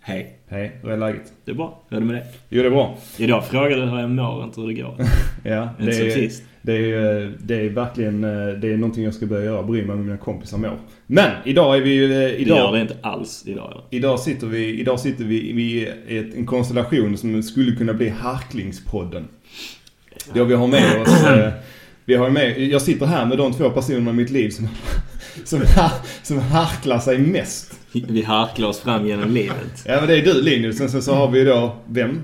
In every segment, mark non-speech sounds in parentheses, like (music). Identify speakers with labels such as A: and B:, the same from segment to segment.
A: Hej.
B: Hej, hur är läget?
A: Det är bra. Hur är det med dig?
B: Jo, det är bra.
A: Idag frågade du hur jag mår, inte hur det går.
B: Ja,
A: Inte
B: det,
A: som
B: är,
A: sist.
B: det, är, ju, eh, det är verkligen eh, det är någonting jag ska börja göra. Bry mig om hur mina kompisar mår. Men idag är vi ju... eh,
A: Det gör det
B: Idag,
A: inte alls idag. eller?
B: idag sitter vi, idag sitter vi i i ett, en konstellation som skulle kunna bli Harklingspodden. Då vi har med oss... eh, Vi har ju med, jag sitter här med de två personerna i mitt liv som, som, som harklar sig mest.
A: Vi harklar oss fram genom livet.
B: Ja men det är du Linus, sen, sen så har vi då, vem?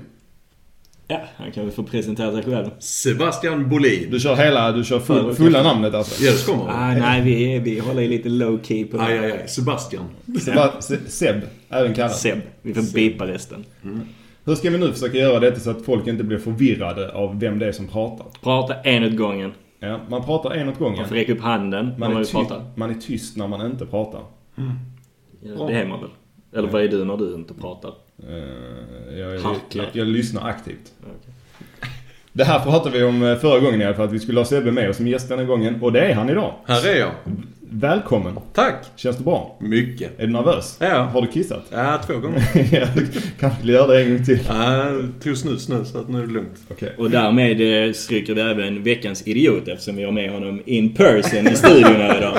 A: Ja, han kan väl få presentera sig själv.
C: Sebastian Bolin.
B: Du kör hela, du kör full, fulla namnet alltså?
C: Yes, kommer ah.
A: Ah, nej, vi, är- vi håller ju lite low key på
C: Aj,
A: det.
C: aj, aj. Sebastian.
B: Seba, Se- Seb, även kallad.
A: Seb. Vi får bipa resten.
B: Hur ska vi nu försöka göra detta så att folk inte blir förvirrade av vem det är som pratar?
A: Prata en åt gången.
B: Ja, man pratar en åt gången.
A: Man får räcka upp handen när
B: Man
A: man
B: är,
A: vill
B: tyst,
A: prata.
B: man är tyst när man inte pratar.
A: Ja, Det är man väl? Eller vad är du när du inte pratar?
B: Eh, Jag, jag,
A: Harklar.
B: jag, jag lyssnar aktivt. Det här pratade vi om eh, förra gången i alla fall, att vi skulle ha Sebbe med oss som gäst denna gången. Och det är han idag.
C: Här är jag.
B: Välkommen!
C: Tack.
B: Känns det bra?
C: Mycket.
B: Är du nervös?
C: Ja.
B: Har du kissat? (laughs)
C: Ja, två gånger.
B: Ja, du kanske skulle göra det en gång till.
C: Ja, jag tog snus nu så att nu är det lugnt.
B: Okej.
A: Och därmed eh, stryker vi även veckans idiot eftersom vi har med honom in person i studion här idag.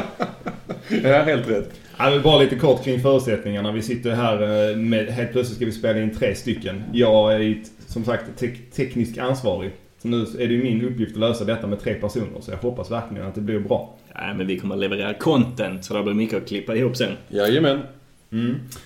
C: Ja, helt rätt.
B: Ja, men bara lite kort kring förutsättningarna. Vi sitter här eh, med, helt plötsligt ska vi spela in tre stycken. Jag är ju, som sagt tek- tekniskt ansvarig. Så nu är det ju min uppgift att lösa detta med tre personer. Så jag hoppas verkligen att det blir bra.
A: Nej, men vi kommer att leverera content så det blir mycket att klippa ihop sen.
C: Jajamän.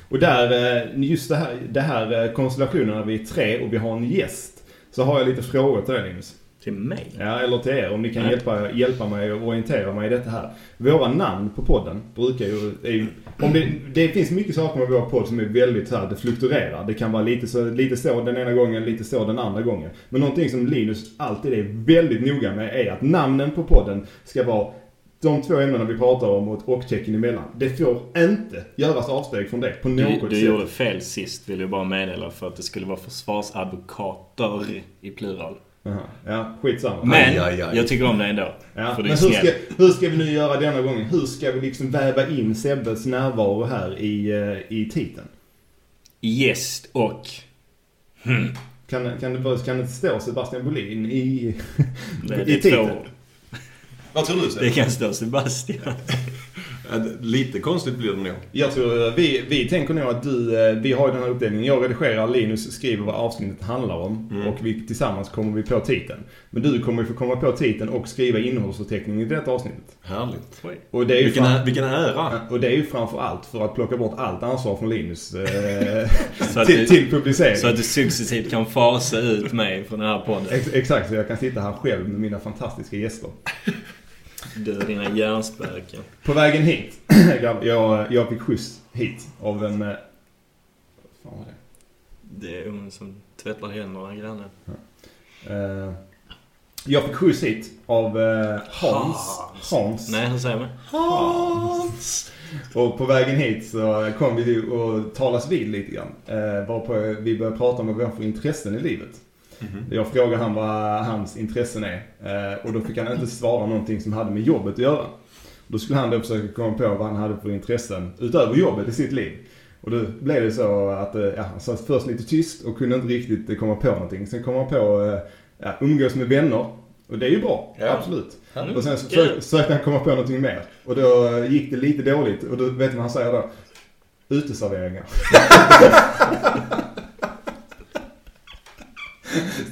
B: Och där, eh, just det här, det här eh, konstellationen när vi är tre och vi har en gäst. Så har jag lite frågor till dig Linus.
A: Till mig?
B: Ja, eller till er om ni kan
A: Ja.
B: hjälpa, hjälpa mig och orientera mig i detta här. Våra namn på podden brukar ju... Är ju om det, det finns mycket saker med vår podd som är väldigt så här, det fluktuerar. Det kan vara lite så, lite så den ena gången, lite så den andra gången. Men någonting som Linus alltid är väldigt noga med är att namnen på podden ska vara de två ämnena vi pratar om och ett och-tecken emellan. Det får inte göras avsteg från det på något
A: Du,
B: sätt.
A: du gjorde fel sist vill jag bara meddela för att det skulle vara försvarsadvokater i plural.
B: Aha. Ja, skitsamma.
A: Men
C: Aj, aj, aj.
A: jag tycker om det ändå.
B: Ja,
A: för du
B: men hur
A: är
B: ska,
A: snäll.
B: hur ska vi nu göra denna gången? Hur ska vi liksom väva in Sebbes närvaro här i, eh, i titeln?
A: Gäst och...
B: Kan, kan, det, bara- kan det stå Sebastian Bolin i, (laughs)
A: Det, det,
B: i
A: är två
B: titeln?
A: ord.
C: Vad tror du
A: det
C: Sebbe?
A: kan stå Sebastian.
C: Ja, Lite konstigt blir det nog.
B: Jag tror, eh, vi, vi tänker nog att du, eh, vi har ju den här uppdelningen. Jag redigerar, Linus skriver vad avsnittet handlar om
A: Mm.
B: och vi, tillsammans kommer vi på titeln. Men du kommer ju få komma på titeln och skriva innehållsförteckningen i detta avsnittet.
C: Härligt.
A: Oj.
B: Och det är ju
C: Vilken,
B: fram,
C: ä- vilken ära.
B: och det är ju framför allt för att plocka bort allt ansvar från Linus eh,
A: (laughs) Så att
B: till,
A: du-
B: till publicering.
A: Så att du successivt kan fasa ut mig från den här podden.
B: Ex exakt, så jag kan sitta här själv med mina fantastiska gäster.
A: Du och dina hjärnspöken.
B: På vägen hit, (clears throat) grabb, jag, jag fick skjuts hit av en... eh, Vad fan var det?
A: Det är hon som tvättar händerna, grannen.
B: Eh, jag fick skjuts hit av eh, Hans. Hans.
A: Nej, hur säger man?
C: Hans!
B: Och på vägen hit så kom vi och talas vid lite grann. Eh, varpå vi började prata om vad vi har för intressen i livet. Jag frågade han vad hans intressen är. Eh, och då fick han inte svara någonting som hade med jobbet att göra. Då skulle han då försöka komma på vad han hade för intressen utöver jobbet i sitt liv. Och då blev det så att eh, ja, han satt först lite tyst och kunde inte riktigt eh, komma på någonting. Sen kom han på eh, ja, umgås med vänner. Och det är ju bra,
C: Ja.
B: absolut.
C: Mm,
B: Och sen så
A: kul.
B: försökte, försökte han komma på någonting mer. Och då eh, gick det lite dåligt. Och då vet du vad han säger då? Uteserveringar. (laughs)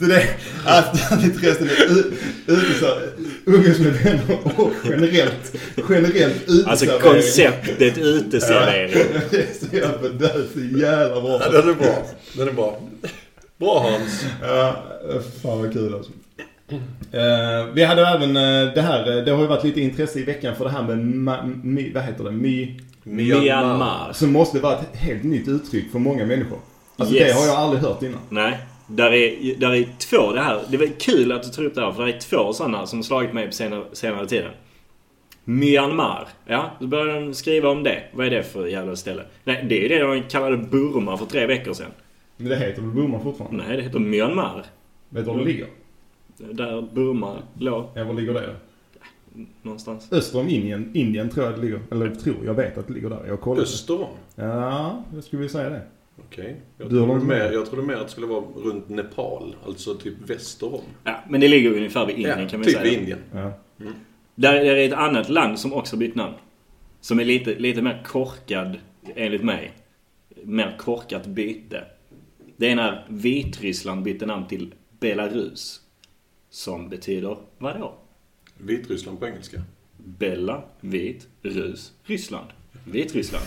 B: så det är alltså, intressen är u- uteserveringar, umgås med vänner och generellt, generellt uteserveringar.
A: Alltså konceptet uteservering.
B: (laughs) Det är så jävla dö, så jävla bra.
C: Ja, den är bra. Den är bra. Bra Hans.
B: Ja, fan vad kul alltså. Eh, vi hade även eh, det här, eh, det har ju varit lite intresse i veckan för det här med, ma- my, vad heter det, my,
A: Myanmar.
B: som måste vara ett helt nytt uttryck för många människor. Alltså
A: Yes.
B: det har jag aldrig hört innan.
A: Nej. Där är, där är två det här. Det var kul att du tog upp det här för det är två sådana som slagit mig på senare, senare tiden. Myanmar. Ja, då började de skriva om det. Vad är det för jävla ställe? Nej, det är ju det de kallade Burma för tre veckor sedan.
B: Men det heter väl Burma fortfarande?
A: Nej, det heter Myanmar.
B: Vet du var det ligger?
A: Där Burma låg
B: Ja, var ligger det?
A: någonstans.
B: Öster om Indien, Indien tror jag det ligger. Eller tror, jag vet att det ligger där. Jag kollar.
C: Öster om.
B: Ja, jag skulle vilja säga det.
C: Okej. Jag,
B: Du har
C: trodde
B: någon-
C: mer- jag trodde mer att det skulle vara runt Nepal. Alltså typ väster om.
A: Ja, men det ligger ungefär vid Indien
C: ja,
A: kan man
C: typ
A: säga.
C: Indien.
B: Ja.
A: Där är det ett annat land som också bytt namn. Som är lite, lite mer korkad, enligt mig. Mer korkat byte. Det är när Vitryssland bytte namn till Belarus. Som betyder vadå?
C: Vitryssland på engelska.
A: Bella, vit, rus, Ryssland. Vitryssland.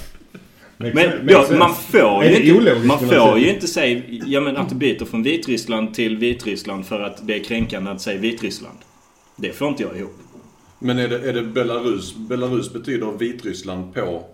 B: Makes
A: Men
B: sense.
A: ja,
B: Makes
A: man
B: sense.
A: får
B: Är det
A: ju inte,
B: ologiskt
A: man
B: på något
A: får
B: sätt?
A: ju inte säga ja, men att du byter från Vitryssland till Vitryssland för att det är kränkande att säga Vitryssland. Det får inte jag ihop.
C: Men är det, är det Belarus? Belarus betyder Vitryssland på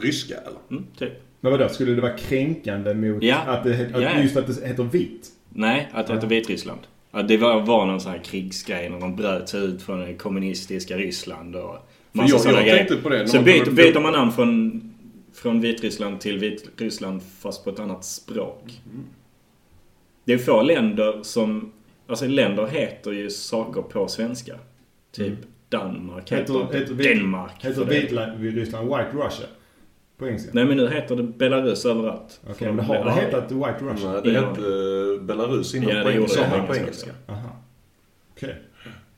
C: ryska eller?
A: Mm, typ.
B: Men vadå, skulle det vara kränkande mot
A: Ja.
B: att det, het- att,
A: Ja, ja.
B: just att det heter vit?
A: Nej, att det heter Vitryssland. Ja, det var, var någon sån här krigsgrej när de bröt sig ut från det kommunistiska Ryssland och massa
C: jag-
A: såna
C: jag
A: grejer.
C: tänkte på det när
A: Så
C: man
A: byter,
C: kommer-
A: byter man namn från, från Vitryssland till Vitryssland fast på ett annat språk.
B: Mm.
A: Det är få länder som... Alltså länder heter ju saker på svenska. Typ Danmark heter,
B: Mm.
A: inte
B: Heter- heter Vit-
A: Danmark. för
B: Heter
A: det.
B: vit la- vid Ryssland White Russia? På engelska?
A: Nej men nu heter det Belarus överallt.
B: Okej, men det har det hetat White Russia?
C: Nej, det
A: Ingen
C: hette eh, Belarus innan
A: Ja,
C: på
A: det gjorde
C: engelska.
A: det.
C: på engelska.
B: Aha. Okej.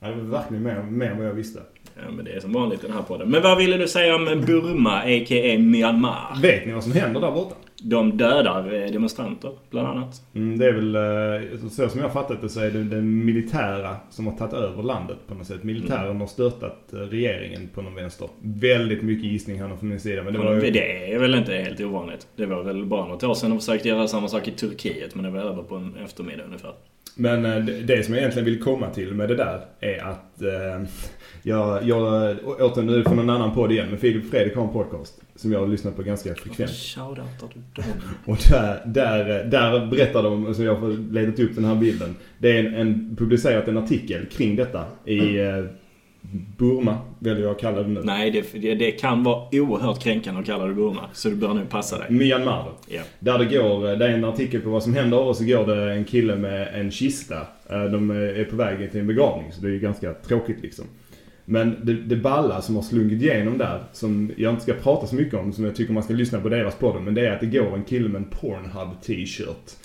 B: Ja, det var verkligen mer, mer än vad jag visste.
A: Ja, men det är som vanligt i den här podden. Men vad ville du säga om Burma, a.k.a. Myanmar?
B: Vet ni vad som händer där borta?
A: De dödar eh, demonstranter, bland annat.
B: Mm, det är väl, eh, så som jag har fattat det så är det den militära som har tagit över landet på något sätt. Militären har störtat eh, regeringen på någon vänster. Väldigt mycket gissning här nu från min sida. Men det var ju...
A: Det är väl inte helt ovanligt. Det var väl bara något år sedan de försökte göra samma sak i Turkiet, men det var över på en eftermiddag ungefär.
B: Men eh, det, det som jag egentligen vill komma till med det där är att eh, jag, jag återigen, nu är det från en annan podd igen, men Filip Fredrik har en podcast som jag har lyssnat på ganska frekvent.
A: Shoutoutar du dem?
B: Och där, där, där berättar de, som jag har letat upp den här bilden. Det är en, en publicerat en artikel kring detta i eh, Burma, väljer jag att kalla det nu.
A: Nej, det, det, det kan vara oerhört kränkande att kalla det Burma, så du bör nu passa dig.
B: Myanmar då.
A: Ja.
B: Där det går, det är en artikel på vad som händer och så går det en kille med en kista. Eh, De är på väg till en begravning så det är ju ganska tråkigt liksom. Men det, det balla som har slungit igenom där, som jag inte ska prata så mycket om, som jag tycker man ska lyssna på deras podd om, men det är att det går en kille med en Pornhub t-shirt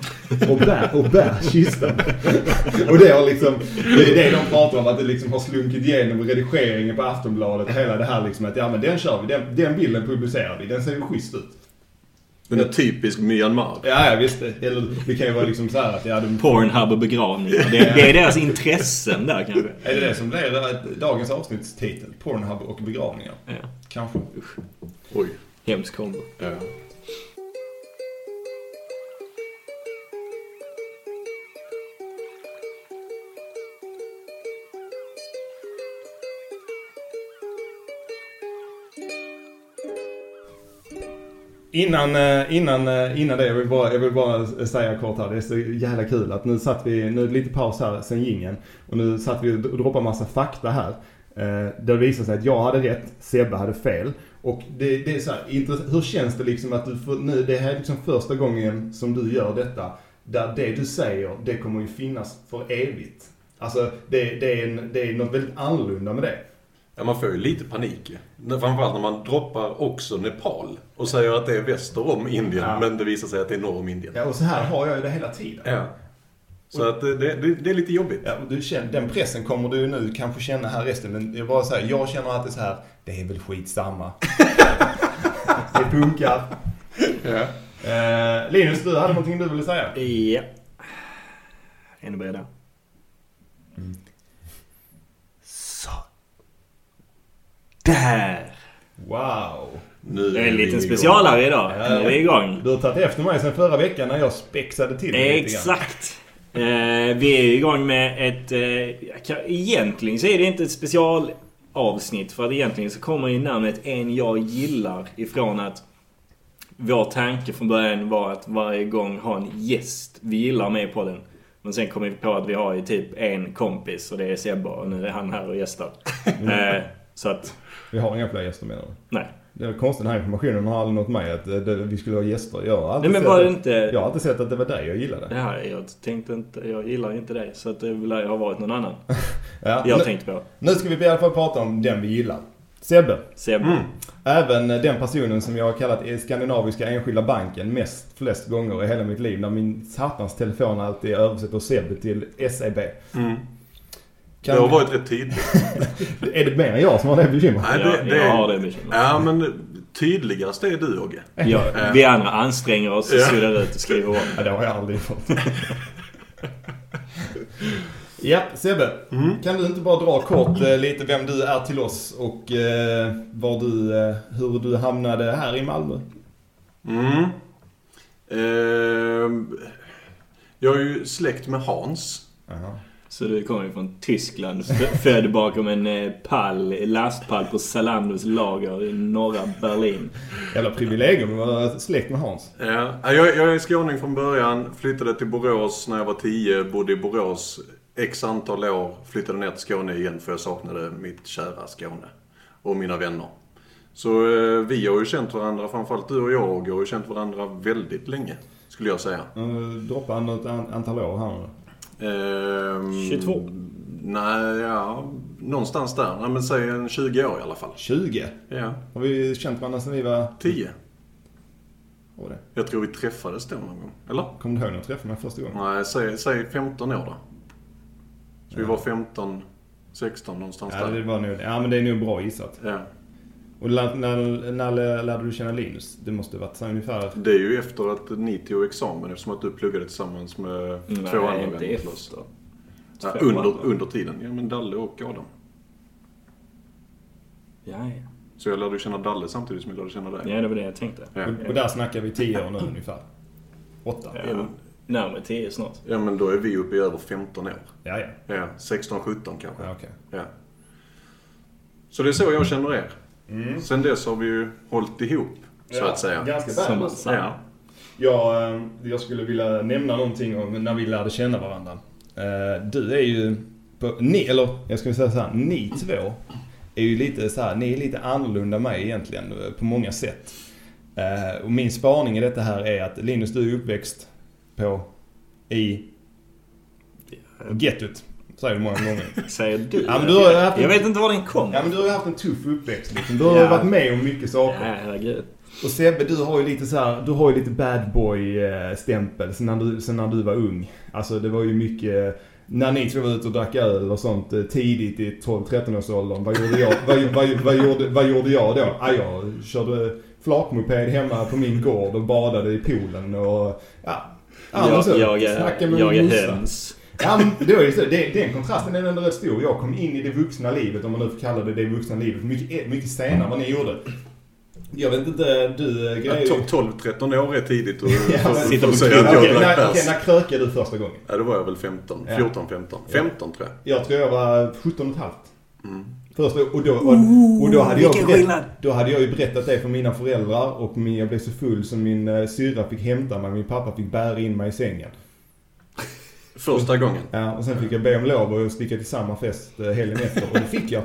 B: och bär, och bär kistan. (laughs) Och det har liksom, det är det de pratar om, att det liksom har slunkit igenom redigeringen på Aftonbladet och hela det här liksom att ja men den kör vi, den, den bilden publicerar vi, den ser ju schysst ut.
C: Den är typisk Myanmar.
B: Ja, ja visst. Eller det kan ju vara liksom så här att ja, de...
A: Pornhub och begravningar. Det, det är deras intressen där kanske.
B: Är det det som blir eh, dagens avsnittstitel? Pornhub och begravningar?
A: Ja.
B: Kanske.
C: Oj.
A: Hemsk kombo.
C: Ja.
B: Innan, eh, innan, eh, innan det, jag vill, bara, jag vill bara säga kort här, det är så jävla kul att nu satt vi, nu är det lite paus här sen gingen och nu satt vi och droppade massa fakta här. Eh, Där det visade sig att jag hade rätt, Sebbe hade fel. Och det, det är så här, intress- hur känns det liksom att du får, nu, det här är liksom första gången som du gör detta, där det du säger, det kommer ju finnas för evigt. Alltså det, det, är, en, det är något väldigt annorlunda med det.
C: Ja, man får ju lite panik. ju. När- Framförallt när man droppar också Nepal och säger att det är väster om Indien,
B: Ja.
C: men det visar sig att det är norr om Indien.
B: Ja, och så här har jag ju det hela tiden.
C: Ja. Så att eh, det, det, det är lite jobbigt.
B: Ja, och du känner, den pressen kommer du ju nu kanske känna här resten, men jag bara säger, jag känner att det är så här, det är väl skitsamma.
A: (laughs)
B: det funkar.
C: Ja.
B: Eh, Linus, du hade någonting du ville säga?
A: Ja. Är ni beredda? Så. Där!
B: Wow.
C: Nu
A: Det är en
C: vi
A: liten
C: igång.
A: specialare idag. Nu är vi igång.
B: Du har tagit efter mig sedan förra veckan när jag spexade till det
A: Exakt. Eh, vi är igång med ett... Eh, jag kan- egentligen så är det inte ett specialavsnitt. För att egentligen så kommer ju namnet En jag gillar ifrån att vår tanke från början var att varje gång ha en gäst vi gillar med på den. Men sen kom vi på att vi har ju typ en kompis och det är Sebbe och nu är han här och gästar. Eh, så att,
B: Vi har inga fler gäster menar du?
A: nej.
B: Det var konstigt, den här informationen har aldrig nått mig att eh, det, vi skulle ha gäster. Jag har
A: Nej
B: alltid,
A: men
B: sett,
A: var det
B: att, jag
A: inte...
B: har alltid sett att det var dig jag gillade.
A: Det här, jag tänkte inte, jag gillar inte dig. Så att det lär ju ha varit någon annan.
B: Ja,
A: Jag
B: nu,
A: tänkte på.
B: nu ska vi i alla fall prata om den vi gillar. Sebbe.
A: Sebbe.
C: Mm.
B: Även den personen som jag har kallat i Skandinaviska Enskilda Banken mest flest gånger i hela mitt liv. När min satans telefon alltid översätter Sebbe till SEB.
C: Mm.
B: Kan,
C: Det har varit rätt tidigt.
B: Är det mer än jag som har det bekymret?
C: Nej,
A: Ja,
C: det, det,
A: jag har det bekymret.
C: Ja, men det- tydligast är du, Åge.
A: Ja, vi andra anstränger oss och
C: Ja.
A: suddar ut och skriver om.
B: Ja, det har jag aldrig fått. Japp, Sebbe. Kan du inte bara dra kort eh, lite vem du är till oss och eh, var du, eh, hur du hamnade här i Malmö?
C: Mm. Ehm, jag är ju släkt med Hans.
A: Så du kommer ju från Tyskland, f- född bakom en eh, pall, lastpall på Zalandos lager i norra Berlin.
B: Jävla privilegium att vara släkt med Hans.
C: Ja, Eh, jag, jag är skåning från början, flyttade till Borås när jag var 10, bodde i Borås x antal år, flyttade ner till Skåne igen för jag saknade mitt kära Skåne och mina vänner. Så eh, vi har ju känt varandra, framförallt du och jag Åge, har ju känt varandra väldigt länge, skulle jag säga.
B: Mm, Droppa något an- antal år här nu.
C: Ehm,
A: 22.
C: Nej, ja, någonstans där. Nej, men säg en 20 år i alla fall.
B: 20?
C: Ja,
B: Har vi känt varandra sedan vi var...
C: 10.
B: vad var det?
C: Jag tror vi träffades då någon gång. Eller?
B: Kommer du ihåg när du träffade mig första gången?
C: Nej, säg, säg 15 år då. Så vi var 15, 16 någonstans
B: Ja, det
C: där.
B: var nog, ja, men det är nog bra gissat.
C: Ja,
B: Och när, när, när lärde du känna Linus? Det måste ha varit så ungefär...
C: det är ju efter att ni tog examen eftersom att du pluggade tillsammans med två andra
A: Nej,
C: vänner
A: inte
C: till
A: efter.
C: oss. Ja,
A: Två andra.
C: under, under tiden. Ja, men Dalle och Adam.
A: Ja,
C: Så jag lärde känna Dalle samtidigt som jag lärde känna dig.
A: ja. ja, det var det jag tänkte.
C: Ja.
B: Och, och där snackar vi 10 år nu ungefär. 8?
A: Ja, närmare 10 snart.
C: Ja, men då är vi uppe i över 15 år.
B: Ja, ja.
C: Ja, 16, 17 kanske.
B: ja okej.
C: Ja. Så det är så jag känner er. Sen dess har vi ju hållt ihop, så
B: Ja,
C: att säga.
B: Ganska
A: Som
B: väl.
A: man sa.
C: Ja.
B: Jag, eh, jag skulle vilja nämna någonting om när vi lärde känna varandra. Eh, Du är ju, på, ni, eller jag ska väl säga så här, ni två är ju lite så här, ni är lite annorlunda än mig egentligen eh, på många sätt. Eh, Och min spaning i detta här är att Linus, du är uppväxt på, i gettot. Säger du många gånger.
A: Säger du?
B: Ja, men du har ju haft-
A: jag vet inte var den kommer.
B: Ja men du har ju haft en tuff uppväxt liksom. Du har ju
A: Ja.
B: varit med om mycket
A: Ja,
B: saker.
A: herregud.
B: Och Sebbe, du har ju lite så här, du har ju lite bad boy eh, stämpel sen när, du, sen när du var ung. Alltså det var ju mycket, eh, när ni två var ute och drack öl och sånt eh, tidigt i 12-13 års åldern. Vad gjorde jag, vad, vad, vad, gjorde, vad gjorde jag då? Ah, jag körde flakmoped hemma på min gård och badade i poolen och ja. ja, men så.
A: Jag, jag,
B: Snacka
A: är,
B: med
A: jag är
B: morsan.
A: höns.
B: Ja, men det var ju så. Det, den kontrasten är ändå rätt stor. Jag kom in i det vuxna livet, om man nu får kalla det det vuxna livet, mycket, eh, mycket senare än vad ni gjorde. Jag vet inte, du eh,
C: Ja,
B: grejer...
C: to- 12-13 år är tidigt att
B: Ja,
C: för-
B: men-
C: för
A: Sitta
C: att
A: på
C: säga
A: krogen.
C: att jag
B: Okej,
C: drack
B: när, okej,
C: bärs.
B: när krökade du första gången?
C: Ja, då var jag väl 15.
B: Ja.
C: 14, 15. 15 tror jag.
B: Jag tror jag var 17 och ett halvt. Första, och då, och, och då, hade jag
A: vilken skillnad.
B: berätt, då hade jag ju berättat det för mina föräldrar och min, jag blev så full så min eh, syrra fick hämta mig, min pappa fick bära in mig i sängen.
C: Första gången.
B: Ja, och sen fick jag be om lov att sticka till samma fest eh, helgen efter och det fick jag.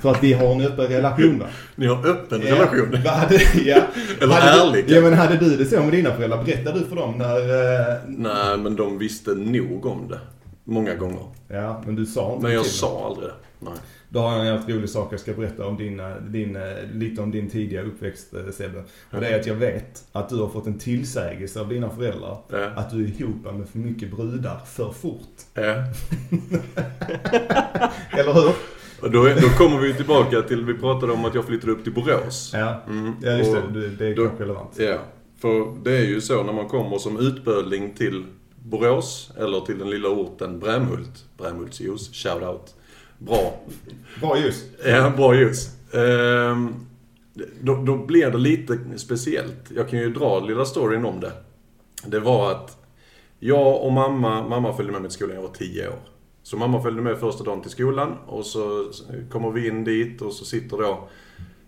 B: För att vi har en öppen relation va?
C: Ni har öppen Eh,
B: (laughs)
C: relation.
B: Ja, hade, ja.
C: (laughs) Eller
B: hade
C: ärlig,
B: Du, ja
C: kanske.
B: men hade du det så med dina föräldrar? Berättade du för dem när... eh,
C: Nej, men de visste nog om det. Många gånger.
B: Ja, men du sa inte
C: Men jag
B: till dem.
C: sa aldrig det. Nej.
B: Då har jag en jävligt rolig sak jag ska berätta om din, eh, din, eh, lite om din tidiga uppväxt eh, Sebbe. Och det är att jag vet att du har fått en tillsägelse av dina föräldrar.
C: Ja.
B: Att du är ihop med för mycket brudar för fort.
C: Ja.
B: Eller hur?
C: Och då, då kommer vi tillbaka till, vi pratade om att jag flyttade upp till Borås.
B: Ja,
C: Mm.
B: ja just det.
C: Och
B: Du- Det är
C: då-
B: kanske relevant.
C: Ja, för det är ju så när man kommer som utböling till Borås eller till den lilla orten Brämhult. Brämhultsjuice, shoutout. Bra.
B: Bra ljus.
C: Ja, Eh, bra juice. Ehm, då, då blir det lite speciellt. Jag kan ju dra lilla storyn om det. Det var att jag och mamma, mamma följde med mig till skolan, jag var 10 år. Så mamma följde med första dagen till skolan och så kommer vi in dit och så sitter då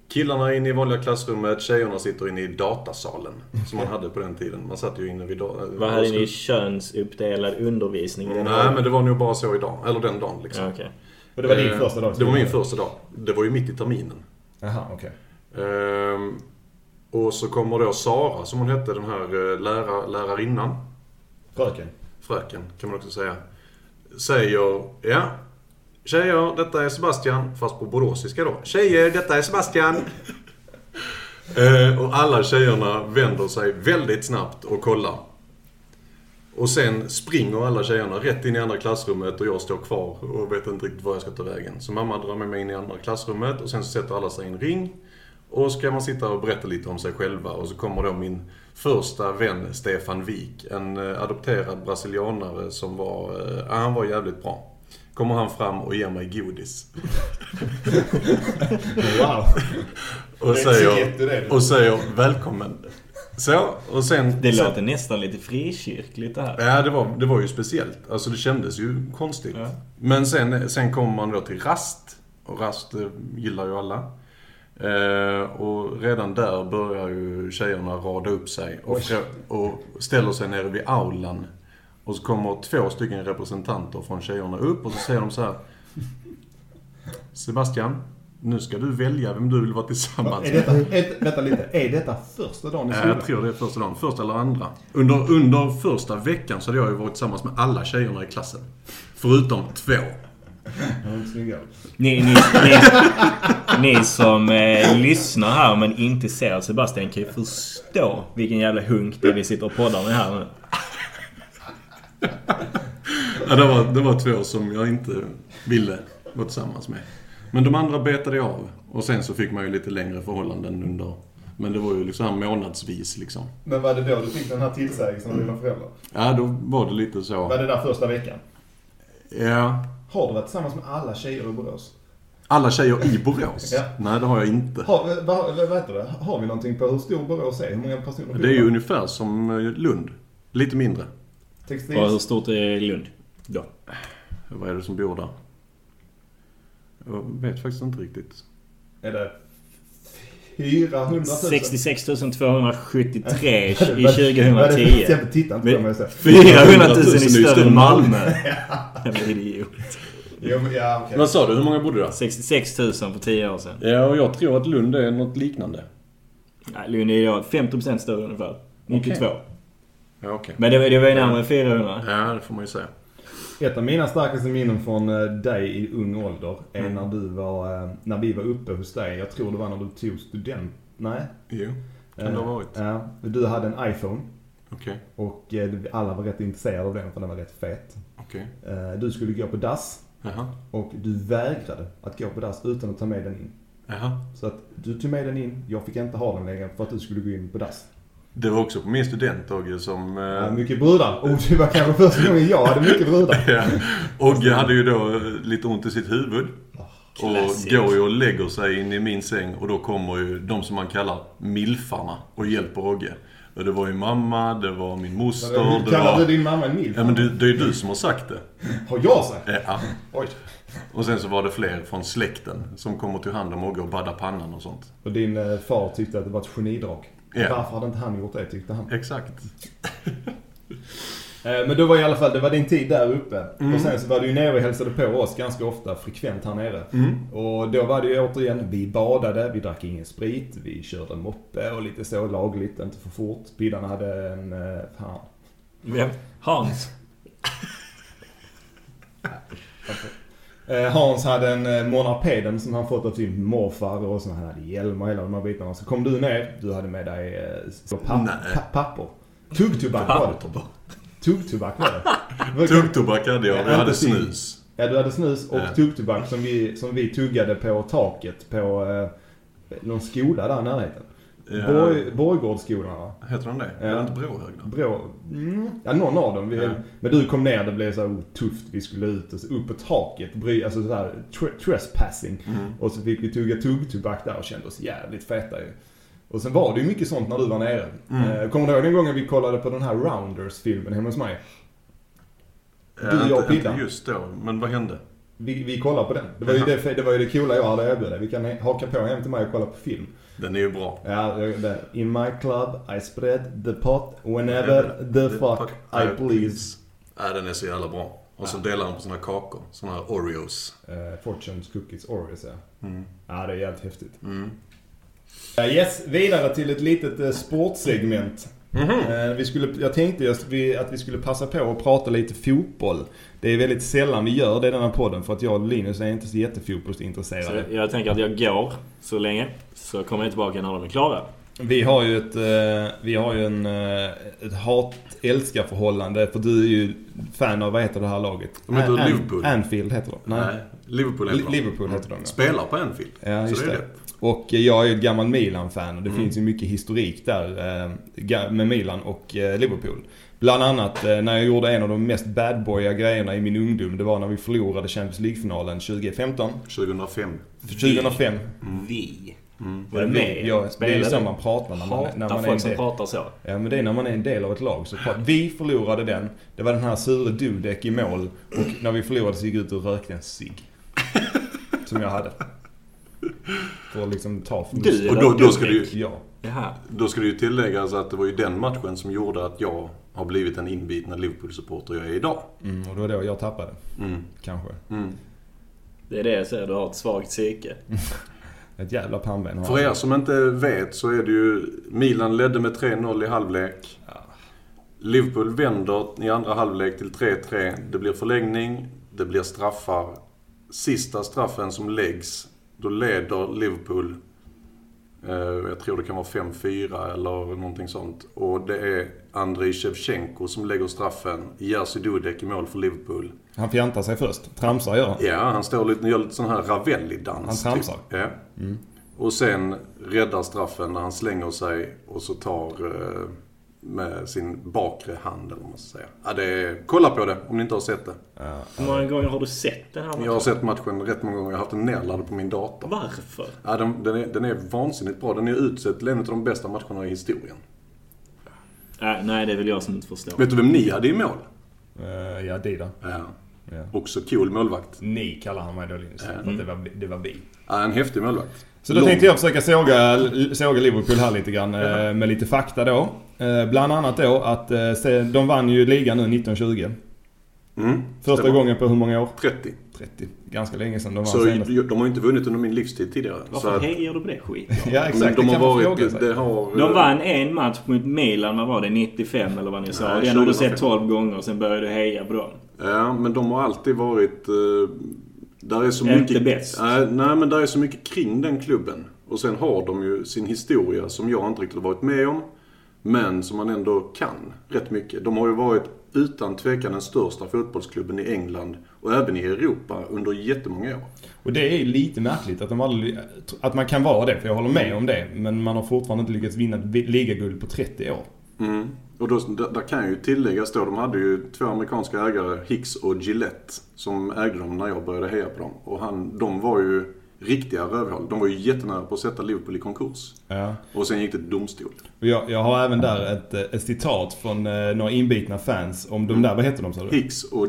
C: killarna inne i vanliga klassrummet, tjejerna sitter inne i datasalen. Som man hade på den tiden. Man satt ju inne vid eh, datasalen.
A: Vad hade ni könsuppdelad undervisning? den
C: Nej,
A: dagen?
C: men det var nog bara så idag. Eller den dagen liksom.
A: Ja, okej.
B: Och det var din
C: Eh,
B: första dag? i
C: Det var min
B: skolan.
C: första dag. Det var ju mitt i terminen.
B: Jaha, okej.
C: Ehm, och så kommer då Sara, som hon hette, den här eh, lära, lärarinnan,
B: Fröken.
C: fröken kan man också säga, säger ja, Tjejer, detta är Sebastian. Fast på boråsiska då. Tjejer, detta är Sebastian. Eh, och alla tjejerna vänder sig väldigt snabbt och kollar. Och sen springer alla tjejerna rätt in i andra klassrummet och jag står kvar och vet inte riktigt var jag ska ta vägen. Så mamma drar med mig in i andra klassrummet och sen så sätter alla sig i en ring. Och så kan man sitta och berätta lite om sig själva och så kommer då min första vän Stefan Wik. En eh, adopterad brasilianare som var, eh, ja, han var jävligt bra. Kommer han fram och ger mig godis.
B: Wow.
C: Och
B: Det är så
C: säger,
B: gett du det.
C: och säger välkommen. Så, och sen...
A: Det
C: sen,
A: låter nästan lite frikyrkligt det här.
C: Ja, det var, det var ju speciellt. Alltså det kändes ju konstigt.
A: Ja.
C: Men sen, sen kommer man då till rast. Och rast eh, gillar ju alla. Eh, och redan där börjar ju tjejerna rada upp sig och,
B: Oj.
C: frå- och ställer sig nere vid aulan. Och så kommer två stycken representanter från tjejerna upp och så säger de så här. Sebastian, nu ska du välja vem du vill vara tillsammans
B: Är
C: med.
B: detta, är, vänta lite. Är detta första dagen i
C: Ja,
B: skolan?
C: Eh, jag tror det är första dagen. Första eller andra. Under, under första veckan så hade jag ju varit tillsammans med alla tjejerna i klassen. Förutom två.
B: Mm, snygga.
A: Ni, ni, ni, ni som eh, lyssnar här men inte ser Sebastian kan ju förstå vilken jävla hunk det är vi sitter och poddar med här nu.
C: Ja, det, var, det var två som jag inte ville vara tillsammans med. Men de andra betade jag av. Och sen så fick man ju lite längre förhållanden under... Men det var ju liksom här månadsvis liksom.
B: Men var det då du fick den här tillsägelsen av dina föräldrar?
C: Ja, då var det lite
B: Var
C: så.
B: det där första veckan?
C: Ja.
B: Har du varit tillsammans med alla tjejer i Borås?
C: Alla tjejer i Borås?
B: Ja.
C: Nej, det har jag inte.
B: Har, vad, vad heter det? Har vi någonting på hur stor Borås är? Hur många personer bor
C: Det är ju
B: där?
C: ungefär som eh, Lund. Lite mindre.
B: Textil...
A: Och hur stort är Lund? Då.
C: Vad är det som bor där? Jag vet faktiskt inte riktigt.
B: Är det 400 000?
A: 66 273 i
B: (laughs) Vad- vad är det för
A: 2010.
B: exempel? Titta inte på mig och säg.
A: 400 000 är
C: 400 000
A: större än Malmö. (laughs) Jävla idiot.
B: Jo, men ja, okej.
C: Vad sa du? Hur många bodde där?
A: 66 000 för 10 år sedan.
C: Ja, och jag tror att Lund är något liknande.
A: Nej, Lund är idag 50% större ungefär. 92.
C: Ja, okej.
A: Men det, var- det var ju närmare 400.
C: Ja, det får man ju säga.
B: Ett av mina starkaste minnen från eh, dig i ung ålder är när du var, eh, när vi var uppe hos dig. Jag tror det var när du tog student... Nej?
C: Jo, kan det
B: Eh,
C: ha varit.
B: Ja. Du hade en iPhone
C: Okej,
B: och eh, alla var rätt intresserade av den för den var rätt fet.
C: okej.
B: Eh, Du skulle gå på dass
C: Jaha,
B: och du vägrade att gå på dass utan att ta med den in.
C: jaha.
B: Så att du tog med den in, jag fick inte ha den längre för att du skulle gå in på dass.
C: Det var också på min studentdag ju som... eh,
B: Ja, mycket brudar. Och det var kanske första gången jag hade mycket brudar.
C: (laughs) Ja. Ogge hade ju då eh, lite ont i sitt huvud. Och
A: Classic.
C: går ju och lägger sig in i min säng och då kommer ju de som man kallar milfarna och hjälper Ogge. Och det var ju mamma, det var min moster,
B: Hur
C: det
B: kallar du
C: var...
B: din mamma en milf?
C: Ja men det, det är ju du som har sagt det. Eh,
B: Har jag sagt?
C: Ja.
B: Oj.
C: Och sen så var det fler från släkten som kommer till hand om Ogge och badda pannan och sånt.
B: Och din eh, far tyckte att det var ett genidrag.
C: Ja.
B: Varför hade inte han gjort det tyckte han.
C: Exakt.
B: Eh, Men då var i alla fall, det var din tid där uppe. Och sen så var du ju nere och hälsade på oss ganska ofta, frekvent här nere. Och då var det ju återigen, vi badade, vi drack ingen sprit, vi körde moppe och lite så lagligt, inte för fort. Biddarna hade en, eh, fan.
A: Vem? Hans.
B: Eh, Hans hade en eh, monarpeden som han fått av sin morfar och så han hade hjälm och hela de här bitarna. Så kom du ner, du hade med dig eh, så papp,
C: Nej.
B: pa, papper. Tuggtobak var det.
C: Papptobak.
B: Tuggtobak var det.
C: Tuggtobak hade jag,
B: Ja,
C: och jag hade
B: precis.
C: snus.
B: Ja, du hade snus och
C: Ja.
B: tuggtobak som vi, som vi tuggade på taket på eh, någon skola där i närheten.
C: Ja.
B: Borg, Borgårdsskolan va?
C: Heter han det?
B: Ja.
C: Är det inte Bråhög då?
B: Brå... Mm. Ja, någon av dem. Vi,
C: Ja.
B: Men du kom ner, det blev så här, oh, tufft. Vi skulle ut och så upp på taket. Bry, alltså så här, tre- trespassing.
C: Mm.
B: Och så fick vi tugga tuggtobak där och kände oss jävligt feta ju. Och sen var det ju mycket sånt när du var nere.
C: Mm.
B: Eh, kommer du ihåg den gången vi kollade på den här Rounders-filmen hemma hos mig?
C: Ja,
B: Du, jag och
C: Eh, inte-
B: Pilla.
C: Inte just då, men vad hände?
B: Vi, vi kollade på den. Det var, ju det, det var ju det coola jag hade att erbjuda. Vi kan haka på hem till mig och kolla på film.
C: Den är ju bra.
B: Ja, det- det- In my club I spread the pot whenever the fuck I please.
C: Ja, den är så jävla bra. Och så delar han på sina kakor. Såna här Oreos.
B: Eh, Fortunes Cookies Oreos ja.
C: Mm.
B: Ja, det är jävligt häftigt.
C: Mm.
B: Eh, yes, vidare till ett litet eh, sportsegment. Eh, Vi skulle, jag tänkte just vi- att vi skulle passa på att prata lite fotboll. Det är väldigt sällan vi gör det i den här podden för att jag och Linus är inte så
A: Så
B: jättefotbollsintresserade.
A: jag tänker att jag går så länge. Så kommer jag tillbaka när de är klara.
B: Vi har ju ett, eh, vi har ju en, eh, ett hat-älskar-förhållande för du är ju fan av, vad heter det här laget?
C: De heter
B: An- An-
C: Liverpool.
B: Anfield heter de.
C: Nej. Liverpool heter
B: Li- Liverpool heter de, ja.
C: Spelar på Anfield.
B: Ja, just
C: så det är
B: det.
C: det. Mm.
B: Och eh, jag är ju ett gammal Milan-fan och det finns ju mycket historik där eh, ga- med Milan och eh, Liverpool. Bland annat eh, när jag gjorde en av de mest badboya grejerna i min ungdom. Det var när vi förlorade Champions League-finalen 2015.
C: 2005.
B: 2005.
A: Vi. Var
B: Ja,
A: du
B: vi-
A: med?
B: ja, det är ju
A: Spelade
B: så
A: du?
B: man pratar när man,
A: Hatar
B: när man är en
A: folk som
B: del.
A: pratar så.
B: Ja men det är när man är en del av ett lag. Så pratar- vi förlorade den. Det var den här sure Dudek i mål. Och när vi förlorade så gick jag ut och rökte en cigg. Som jag hade. För att liksom ta förlusten.
A: Du
C: Och då- då ska du-
B: Ja.
A: Jaha.
C: Då ska det ju tilläggas att det var ju den matchen som gjorde att jag har blivit den inbitna Liverpool-supporter jag är idag.
B: Mm, och det var då jag tappade.
C: Mm.
B: Kanske.
C: Mm.
A: Det är det jag säger, du har ett svagt psyke.
B: Ett jävla pannben har
C: För
B: jag.
C: er som inte vet så är det ju Milan ledde med 3-0 i halvlek. Liverpool vänder i andra halvlek till 3-3. Det blir förlängning, det blir straffar. Sista straffen som läggs, då leder Liverpool. eh, Jag tror det kan vara 5-4 eller någonting sånt. Och det är Andrei Shevchenko som lägger straffen. Jerzy Dudek i mål för Liverpool.
B: Han fjantar sig först. Tramsar gör han.
C: Ja, han står lite, gör lite sån här Ravelli-dans.
B: Han Mm. tramsar.
C: Typ. Ja. Och sen räddar straffen när han slänger sig och så tar eh, med sin bakre hand eller vad man ska säga. Ja, det är, kolla på det om ni inte har sett det.
A: Hur många gånger har du sett den här matchen?
C: Jag har sett matchen rätt många gånger. Jag har haft den nedladdad på min dator.
A: Varför?
C: Ja, den, den, är, den är vansinnigt bra. Den är utsedd till en av de bästa matcherna i historien.
A: Äh, nej, det är väl jag som inte förstår.
C: Vet du vem ni hade i mål?
B: Eh, ja, Dida.
C: Ja.
B: Ja.
C: Också cool målvakt.
B: Ni kallar han mig då Linus. För att det var, det var vi.
C: Ja, en häftig målvakt.
B: Så då
C: Lång.
B: tänkte jag försöka såga, såga Liverpool här lite grann eh, med lite fakta då. Eh, Bland annat då att eh, se- de vann ju ligan nu 1920.
C: Mm,
B: Första
C: stämmer.
B: gången på hur många år?
C: 30.
B: 30. Ganska länge sedan de vann
C: Så
B: senast.
C: de har ju inte vunnit under min livstid tidigare. Så
A: Varför
C: att-
A: hejar du på det skit?
B: Ja exakt,
C: Men de
B: det
C: har
B: kan man fråga
C: varit...
B: sig.
C: Det har, eh,
A: De vann en match mot Milan, vad var det? 95 eller vad ni sa?
C: Nej,
A: Den har du
C: 25.
A: sett 12 gånger, sen började du heja på dem.
C: Ja, men de har alltid varit... eh, Där är så
A: Inte
C: mycket...
A: bäst.
C: Nej, nej, men där är så mycket kring den klubben. Och sen har de ju sin historia som jag inte riktigt har varit med om. Men som man ändå kan rätt mycket. De har ju varit utan tvekan den största fotbollsklubben i England och även i Europa under jättemånga år.
B: Och det är lite märkligt att, de aldrig, att man kan vara det, för jag håller med om det. Men man har fortfarande inte lyckats vinna ett vi- ligaguld på 30 år.
C: Mm. Och då, där, där kan ju tilläggas då, de hade ju två amerikanska ägare, Hicks och Gillette, som ägde dem när jag började heja på dem. Och han, de var ju riktiga rövhål. De var ju jättenära på att sätta Liverpool i konkurs.
B: Ja.
C: Och sen gick det till domstol.
B: Och jag, jag har även där ett, eh, ett citat från eh, några inbitna fans om de där, vad heter de sa du?
C: Hicks och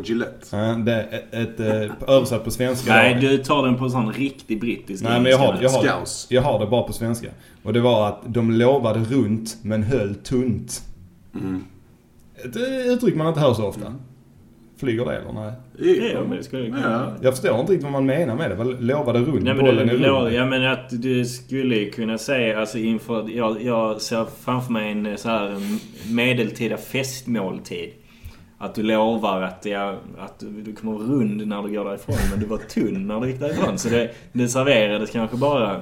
B: Ja,
C: Gillette.
B: det är ett, ett, eh, översatt på svenska.
A: Nej, du tar den på en sån riktig brittisk
B: Nej men jag har, jag, har,
C: Scouse.
B: jag har det bara på svenska. Och det var att de lovade runt men höll tunt. Mm. Ett eh, uttryck man inte hör så ofta. Flyger det eller nej?
A: Det är de, det skulle jag
C: Ja.
A: kunna.
B: Jag förstår inte riktigt vad man menar med det. Vad lovade runt?
A: Nej, men
B: Bollen
A: du,
B: är
A: lå-
B: rund.
A: ja men att du skulle ju kunna säga alltså inför... Jag, jag ser framför mig en eh, så här en medeltida festmåltid. Att du lovar att, ja, att du du kommer vara rund när du går därifrån men du var tunn när du gick därifrån. Så det, det serverades kanske bara,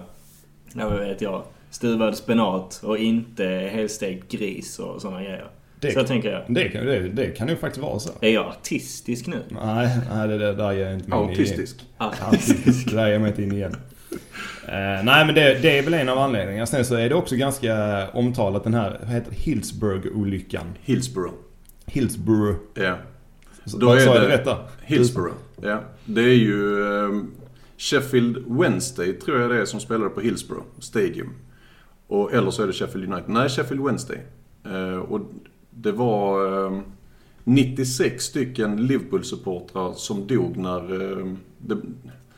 A: ja, vad vet jag, stuvad spenat och inte helstekt gris och sådana grejer.
B: Det-
A: Så tänker jag.
B: Det kan, det, det kan ju faktiskt vara så.
A: Är jag artistisk nu?
B: Nej, nej det där, där ger jag inte mig in i.
C: Autistisk.
B: Autistisk. Det där ger jag mig inte in i igen. Eh, nej men det, det är väl en av anledningarna. Sen så är det också ganska omtalat den här, vad heter det? Hillsburg-olyckan.
C: Hillsborough.
B: Hillsborough.
C: Ja.
B: Då är sa det... jag rätt där?
C: Hillsborough. Ja. Det är ju ehm, Sheffield Wednesday, tror jag det är, som spelade på Hillsborough Stadium. Och, eller så är det Sheffield United. Nej, Sheffield Wednesday. Eh, och det var ehm, 96 stycken Liverpool-supportrar som dog när ehm, det,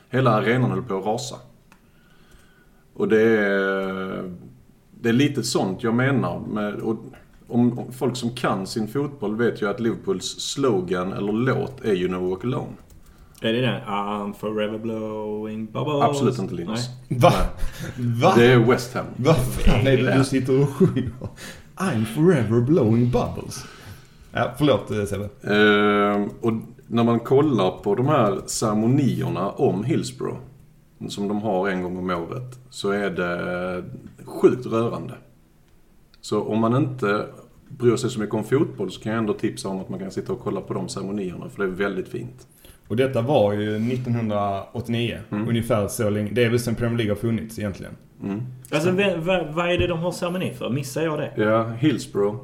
C: hela arenan höll på att rasa. Och det är, det är lite sånt jag menar. Med, och om, om folk som kan sin fotboll vet ju att Liverpools slogan eller låt är ju No Walk Alone.
A: (laughs) Är det den? I'm forever blowing bubbles.
C: Absolut inte Linus.
A: Nej.
B: Va? Va?
C: Det är West Ham.
B: Vad fan är det du sitter och sjunger? I'm forever blowing bubbles. Ja, förlåt eh, Sebbe.
C: Ehm, och när man kollar på de här ceremonierna om Hillsborough, som de har en gång om året, så är det sjukt rörande. Så om man inte bryr sig så mycket om fotboll så kan jag ändå tipsa om att man kan sitta och kolla på de ceremonierna, för det är väldigt fint.
B: Och detta var ju 1989. Ungefär så länge. Det är väl sen Premier League har funnits egentligen.
C: Mm.
A: Alltså, vem- vad, vad är det de har ceremoni för? Missar jag det?
C: Ja, Hillsborough.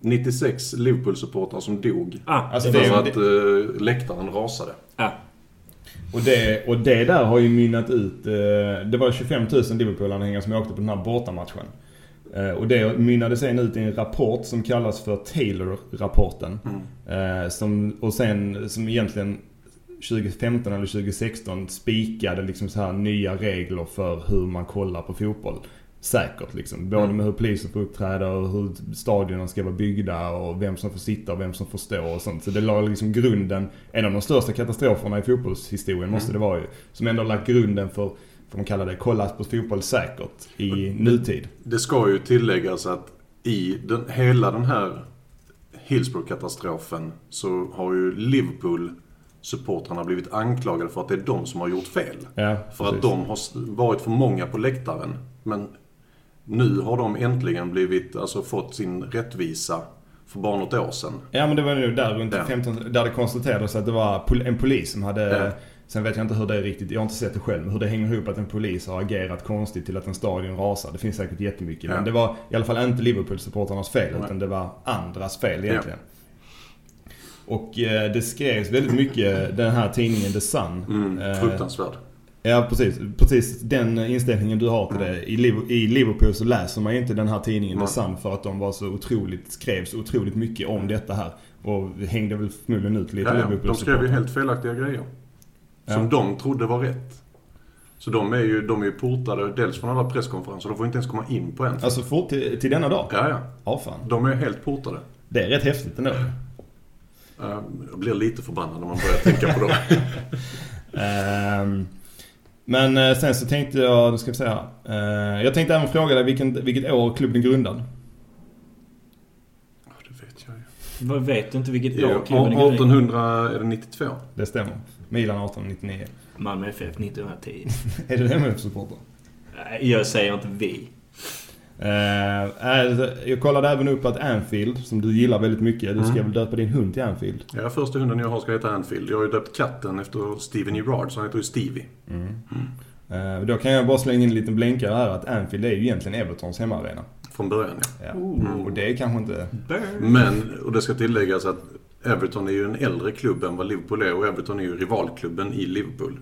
C: 96 Liverpool-supportrar som dog.
A: Ah,
B: Alltså,
A: det,
B: det är-
C: För att eh, läktaren rasade.
A: ah,
B: Och det, och det där har ju mynnat ut. Eh, det var 25 000 Liverpool-anhängare som åkte på den här bortamatchen. Eh, och det mynnade sen ut i en rapport som kallas för Taylor-rapporten. Eh, som, och sen, som egentligen 2015 eller 2016 spikade liksom så här nya regler för hur man kollar på fotboll. Säkert liksom. Både
C: Mm.
B: med hur polisen får uppträda och hur stadionen ska vara byggda och vem som får sitta och vem som får stå och sånt. Så det la liksom grunden. En av de största katastroferna i fotbollshistorien
C: Mm.
B: måste det vara ju. Som ändå lagt grunden för, får man kalla det, kollat på fotboll säkert i nutid.
C: Det ska ju tilläggas att i den, hela den här Hillsborough-katastrofen så har ju Liverpool-supportrarna blivit anklagade för att det är de som har gjort fel.
B: Ja,
C: för att
B: precis.
C: de har s- varit för många på läktaren. Men nu har de äntligen blivit, alltså fått sin rättvisa för bara något år sedan.
B: Ja men det var nog där runt
C: Ja.
B: 15, där det konstaterades att det var pol- en polis som hade
C: Ja.
B: Sen vet jag inte hur det är riktigt, jag har inte sett det själv, men hur det hänger ihop att en polis har agerat konstigt till att en stadion rasar. Det finns säkert jättemycket.
C: Ja.
B: Men det var i alla fall inte Liverpool-supportrarnas fel,
C: Nej.
B: utan det var andras fel
C: Ja.
B: egentligen. Och eh, det skrevs väldigt mycket, den här tidningen The Sun.
C: Mm,
B: eh,
C: fruktansvärd.
B: Ja, precis. Precis den inställningen du har till det. I Liv- I Liverpool så läser man ju inte den här tidningen The
C: Nej.
B: Sun för att de var så otroligt, skrev så otroligt mycket om detta här. Och hängde väl förmodligen ut lite
C: Ja, ja,
B: Liverpool.
C: de skrev ju helt felaktiga grejer. Som
B: Ja.
C: de trodde var rätt. Så de är ju, de är ju portade dels från alla presskonferenser, de får inte ens komma in på en.
B: Alltså fort till, till denna dag?
C: Ja, ja.
B: Ja, fan.
C: De är helt portade.
B: Det är rätt häftigt ändå.
C: Eh, Jag blir lite förbannad när man börjar tänka på dem.
B: Ehm, men eh, sen så tänkte jag, nu ska vi se här. Eh, jag tänkte även fråga dig vilken, vilket år klubben är grundad.
C: Ja, Det vet jag ju.
A: vad vet du inte vilket
C: Ja,
A: lag klubben är grundad i?
C: 1892.
B: Det stämmer. Milan 1899.
A: Malmö FF 1910.
B: (laughs) är du MF-supporter?
A: Nej, Jag säger inte vi.
B: Eh, eh, jag kollade även upp att Anfield, som du gillar väldigt mycket, du ska väl döpa din hund till Anfield?
C: Ja, första hunden jag har ska heta Anfield. Jag har ju döpt katten efter Steven Gerrard, så han heter ju Stevie.
B: Eh, då kan jag bara slänga in en liten blänkare här att Anfield är ju egentligen Evertons hemmaarena.
C: Från början, ja.
B: Ja. Och det är kanske inte...
A: Burn.
C: Men, och det ska tilläggas att Everton är ju en äldre klubb än vad Liverpool är och Everton är ju rivalklubben i Liverpool.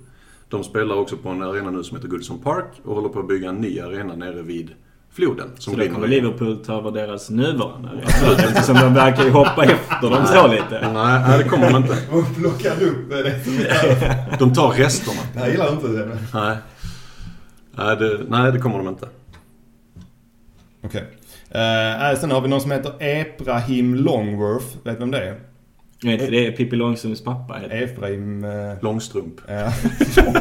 C: De spelar också på en arena nu som heter Goodison Park och håller på att bygga en ny arena nere vid floden. Som
A: Så då kommer
C: rinner in.
A: Liverpool ta över deras nuvarande arena. Eftersom de verkar ju hoppa efter dem så lite.
C: Nej, nej, det kommer de inte.
B: De plockar upp det som
C: De tar resterna.
B: Jag gillar inte det. Okej.
C: Nej. Nej, det, nej, det kommer de inte.
B: Eh, eh, sen har vi någon som heter Ebrahim Longworth. Vet du vem det är?
A: Nej, inte det är Pippi Långstrumps pappa. heter.
B: Efraim... (laughs) eh,
C: Långstrump.
B: Ja.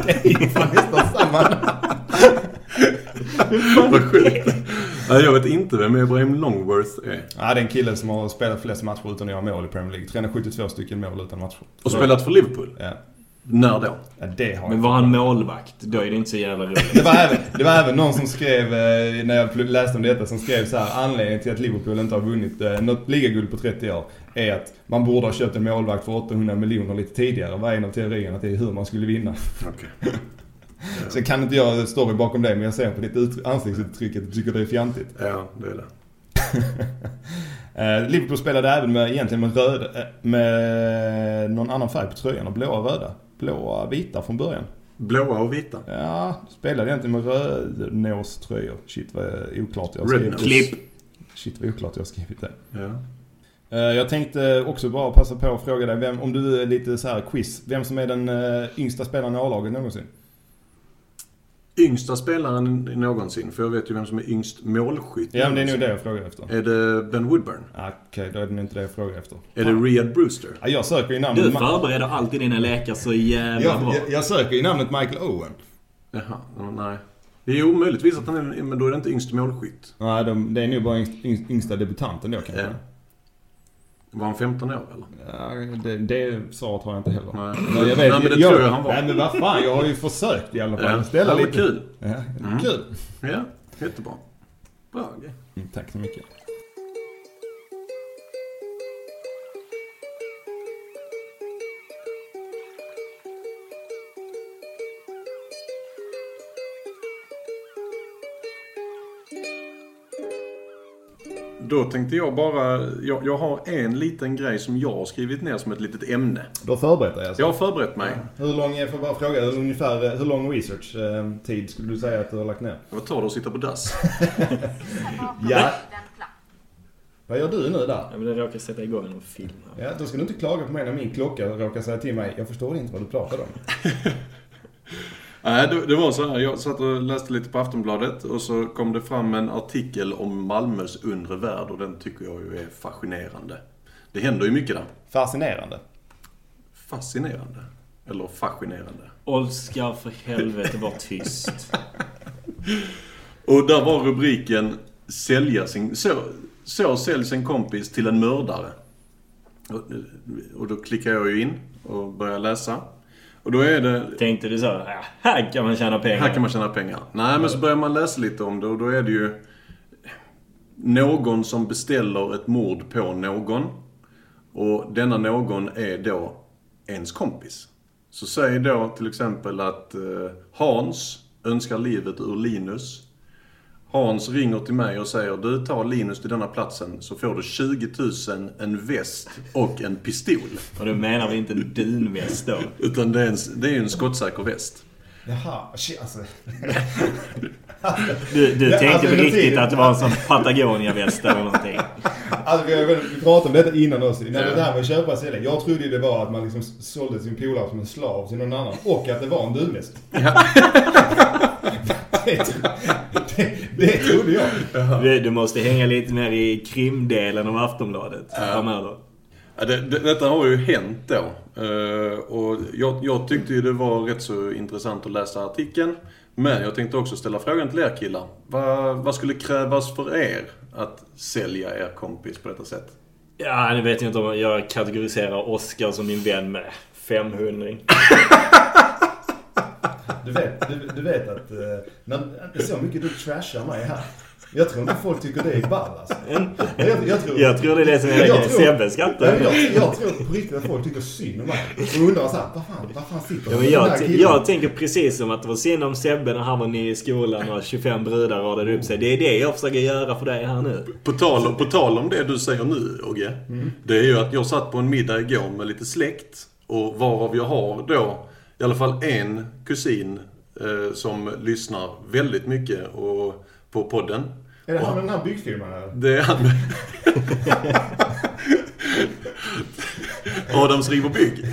B: Det är ju fan nästan samma.
C: (laughs) Vad sjukt. Nej, jag vet inte vem Ibrahim Longworth är.
B: Ja, det är en kille som har spelat flest matcher utan att göra mål i Premier League. 372 stycken mål utan matcher.
C: Och spelat för Liverpool.
B: Ja.
C: När då?
B: Ja, det har
A: Men
B: jag.
A: var han målvakt, då är det inte så jävla roligt.
B: Det var, även, det var även någon som skrev, eh, när jag pl- läste om detta, som skrev så här anledningen till att Liverpool inte har vunnit eh, något ligaguld på 30 år är att man borde ha köpt en målvakt för 800 miljoner lite tidigare. var en av teorierna till hur man skulle vinna.
C: Okej.
B: Sen kan inte jag story bakom det, men jag ser på ditt ut- ansiktsuttryck att du tycker det är fjantigt.
C: Ja, det är det.
B: Eh, Liverpool spelade även med, egentligen med röd, eh, med någon annan färg på tröjan, blåa och röda. Blåa och vita från början.
C: Blåa och vita.
B: Ja, spelade egentligen med rödnåströjor. Shit vad oklart jag har
C: Red
B: skrivit.
C: nose.
A: Klipp.
B: Shit vad oklart jag har skrivit det.
C: Ja.
B: Eh, Jag tänkte också bara passa på att fråga dig, vem, om du är lite så här quiz, vem som är den eh, yngsta spelaren i A-laget någonsin?
C: Yngsta spelaren någonsin, för jag vet ju vem som är yngst målskytt.
B: Ja, men det är nog det jag frågar efter.
C: Är det Ben Woodburn?
B: Ah, Okej, då är det nog inte det jag frågar efter.
C: Är det Riyad Brewster?
B: Ja, Jag söker ju namnet...
A: Du
B: Ma-
A: förbereder alltid dina lekar så jävla bra.
B: jag, jag söker ju namnet Michael Owen.
C: Jaha, nej. Det är ju omöjligtvis att han är, men då är det inte yngste målskytt.
B: Nej, de, det är nog bara yngst, yngst, yngsta debutanten då kanske.
C: Ja. Var han 15 år eller?
B: Ja, det, det svaret har jag inte heller.
C: Nej.
B: Men jag
C: Nej,
B: vet-
C: men det tror jag han var.
B: Nej men vad fan, jag har ju försökt i alla fall.
C: Ja.
B: Ställa
C: Ja, men
B: lite.
C: kul. Mm.
B: Ja, Kul.
C: Ja, jättebra. Bra grej.
B: Mm, tack så mycket.
C: Då tänkte jag bara, jag, jag har en liten grej som jag har skrivit ner som ett litet ämne.
B: Du har förberett dig alltså?
C: Jag har förberett mig.
B: Hur lång, jag får bara fråga, hur ungefär, eh, hur lång research-tid skulle du säga att du har lagt ner?
C: Vad tar det att sitta på dass?
B: Ja.
D: Ja.
B: Vad gör du nu där?
A: Ja, men det råkar sätta igång en film här.
B: Ja, då ska du inte klaga på mig när min klocka råkar säga till mig, jag förstår inte vad du pratar om.
C: Nej, det, det var så här. Jag satt och läste lite på Aftonbladet och så kom det fram en artikel om Malmös undre värld och den tycker jag ju är fascinerande. Det händer ju mycket där.
B: Fascinerande.
C: Fascinerande. Eller fascinerande.
A: Oskar, för helvete, var tyst.
C: Och där var rubriken Sälja sin... Så, så säljs en kompis till en mördare. Och, och då klickar jag ju in och börjar läsa. Och då är det...
A: Tänkte du så här, "Ah, här kan man tjäna pengar.
C: Här kan man tjäna pengar. Nej, men så börjar man läsa lite om det och då är det ju någon som beställer ett mord på någon. Och denna någon är då ens kompis. Så säg då till exempel att eh, Hans önskar livet ur Linus. Hans ringer till mig och säger du tar Linus till denna platsen så får du 20 000, en väst och en pistol.
A: Och då menar vi inte en dunväst då.
C: Utan det är en, det är ju en skottsäker väst.
B: Jaha, shit alltså.
A: Du, du
B: (laughs) Ja,
A: tänkte
B: alltså,
A: på
B: under
A: riktigt
B: tiden-
A: att det var en sån Patagonia-väst eller någonting.
B: Alltså vi, har väl- vi pratade om detta innan också. När det där med att köpa och sälja. Jag trodde ju det var att man liksom sålde sin polare som en slav till någon annan. Och att det var en dunväst. (laughs) det, tro- det, det trodde jag.
A: Du, du måste hänga lite mer i krimdelen av Aftonbladet framöver.
C: Ja, det, det, detta har ju hänt då. Eh, och jag, jag tyckte ju det var rätt så intressant att läsa artikeln. Men jag tänkte också ställa frågan till er killar. Vad, vad skulle krävas för er att sälja er kompis på detta sätt?
A: Ja, nu vet jag inte om jag kategoriserar Oskar som min vän med 500.
B: Du vet, du, du vet att eh, när, så mycket du trashar mig här. Jag tror inte folk tycker det är ball alltså. Jag, jag tror...
A: Jag tror det är det som är
B: Jag
A: grejen.
B: tror-
A: Sebbe skrattar
B: Nej,
A: ändå.
B: jag, jag tror på riktigt att folk tycker synd om mig. Och undrar såhär, vad fan, vad fan
A: Ja,
B: sitter den
A: men
B: där
A: jag, t-
B: killen?
A: jag tänker precis som att det var synd om Sebbe när han var ny i skolan och 25 brudar radade upp sig. Det är det jag försöker göra för dig här nu.
C: På tal, på tal om det du säger nu, Ogge.
B: Mm.
C: Det är ju att jag satt på en middag igår med lite släkt. Och varav jag har då i alla fall en kusin eh, som lyssnar väldigt mycket och, på podden.
B: Är det
C: Och-
B: han med den här byggfirman eller?
C: Det är han. Adams riv och bygg.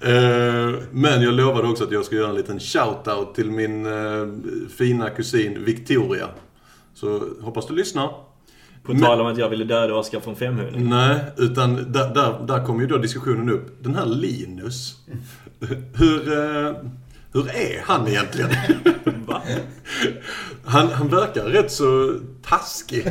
C: Eh, Men jag lovade också att jag ska göra en liten shout-out till min eh, fina kusin Victoria. Så hoppas du lyssnar.
A: På tal om att jag ville döda Oskar från 500.
C: Nej, utan där, där, där kommer ju då diskussionen upp. Den här Linus. Hur, eh, hur är han egentligen?
A: Va?
C: Han, han verkar rätt så taskig.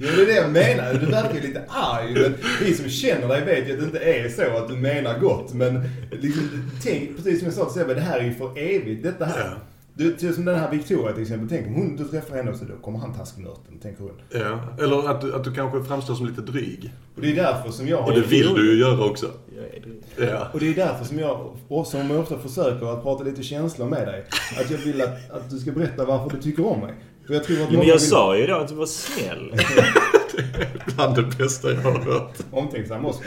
B: Ja, det är det jag menar. Du verkar ju lite arg. Men vi som känner dig vet ju att det inte är så att du menar gott. Men liksom, tänk, precis som jag sa till Sebbe, det här är ju för evigt. Detta här.
C: Ja.
B: Du, till som den här Victoria till exempel. Tänk om hon, du träffar henne och så då kommer han tasknörten, tänker hon.
C: Ja, eller att du, att du kanske framstår som lite dryg.
B: Och det är därför som jag...
C: Och det vill du ju göra också.
A: Jag är dryg.
C: Ja.
B: Och det är därför som jag, och som jag ofta försöker att prata lite känslor med dig. Att jag vill att, att du ska berätta varför du tycker om mig. För jag tror att
A: Jo, men
B: många
A: jag
B: vill-
A: sa ju då att du var
C: (laughs)
A: snäll.
C: Bland det bästa jag har hört.
B: Omtänksam också.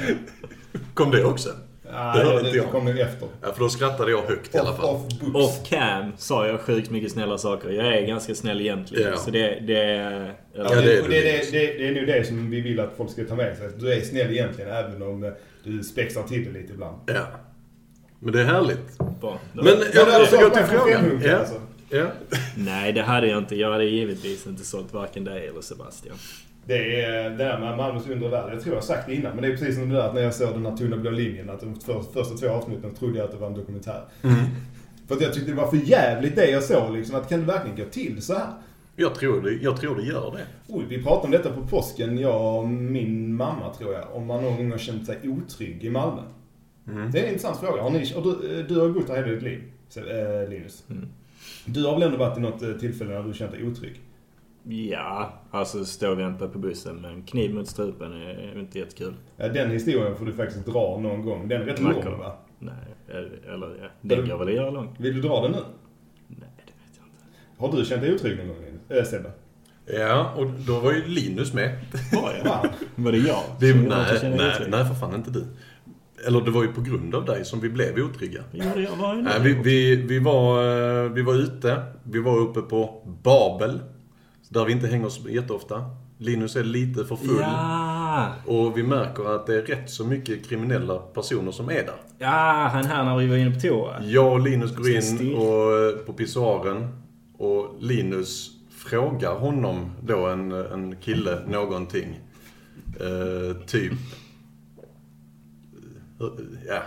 C: Kom det också?
B: Nej,
C: hörde
B: det,
C: inte
B: det,
C: jag.
B: kom nu efter.
C: Ja, för då skrattade jag högt i alla
B: Off,
C: fall.
B: off books.
A: Off cam sa jag sjukt mycket snälla saker. Jag är ganska snäll egentligen.
C: Ja.
A: Så det... det
B: Ja,
A: eller,
C: Ja, det är
B: det, och det, det, det, det är nu det som vi vill att folk ska ta med sig. Du är snäll egentligen, även om eh, du spexar till det lite ibland.
C: Ja. Men det är härligt.
A: bra. Då-
C: Men jag,
B: Men det är
C: jag
B: så
C: ska gå
B: att
C: till
B: man får
C: frågan.
B: femhundra,
C: Ja.
B: alltså.
C: Ja.
A: Nej, det hade jag inte. Jag hade givetvis inte sålt varken dig eller Sebastian.
B: Det är eh, det där med Malmös undre värld. Jag tror jag har sagt det innan, men det är precis som det
C: Mm.
B: där att när jag såg den här tunna blå linjen. Att de för, första två avsnitten trodde jag att det var en dokumentär. För att jag tyckte det var för jävligt det jag såg liksom. Att kan det verkligen gå till så här?
C: Jag tror det, jag tror det gör det.
B: Oj, vi pratade om detta på påsken, jag och min mamma tror jag. Om man någon gång har känt sig otrygg i Malmö. Det är en intressant fråga. Har ni, och du, du har bott här hela ditt liv, så- eh, Linus. Du har väl ändå varit i något eh, tillfälle när du känt dig otrygg?
A: Ja, alltså stå och vänta på bussen med en kniv mot strupen är är inte jättekul.
B: Ja, Eh, Den historien får du faktiskt dra någon gång. Den är rätt
A: Macko.
B: lång va?
A: Nej, eller ja,
C: Mm.
A: den går väl att göra lång.
B: Vill du dra den nu?
A: Nej, det vet jag inte.
B: Har du känt dig otrygg någon gång Linus? Eh, Sebbe?
C: Ja, och då var ju Linus med.
B: (laughs)
A: Var jag?
B: Fan.
A: Var det jag?
C: Det,
A: Som jag inte
C: nej,
A: känner
C: nej,
A: till?
C: nej, för fan inte du. Eller det var ju på grund av dig som vi blev otrygga.
A: Jo, det var jag
C: Nej,
A: nu.
C: vi, vi, vi, var, eh, vi var ute, vi var uppe på Babel. Där vi inte hänger så jätteofta. Linus är lite för full.
A: Ja,
C: Och vi märker att det är rätt så mycket kriminella personer som är där.
A: ja, han här när vi var inne på toa.
C: Jag och Linus går in
A: Stil.
C: och, eh, på pissoaren och Linus frågar honom då, en, en kille, någonting. Eh, typ... Eh, Ja,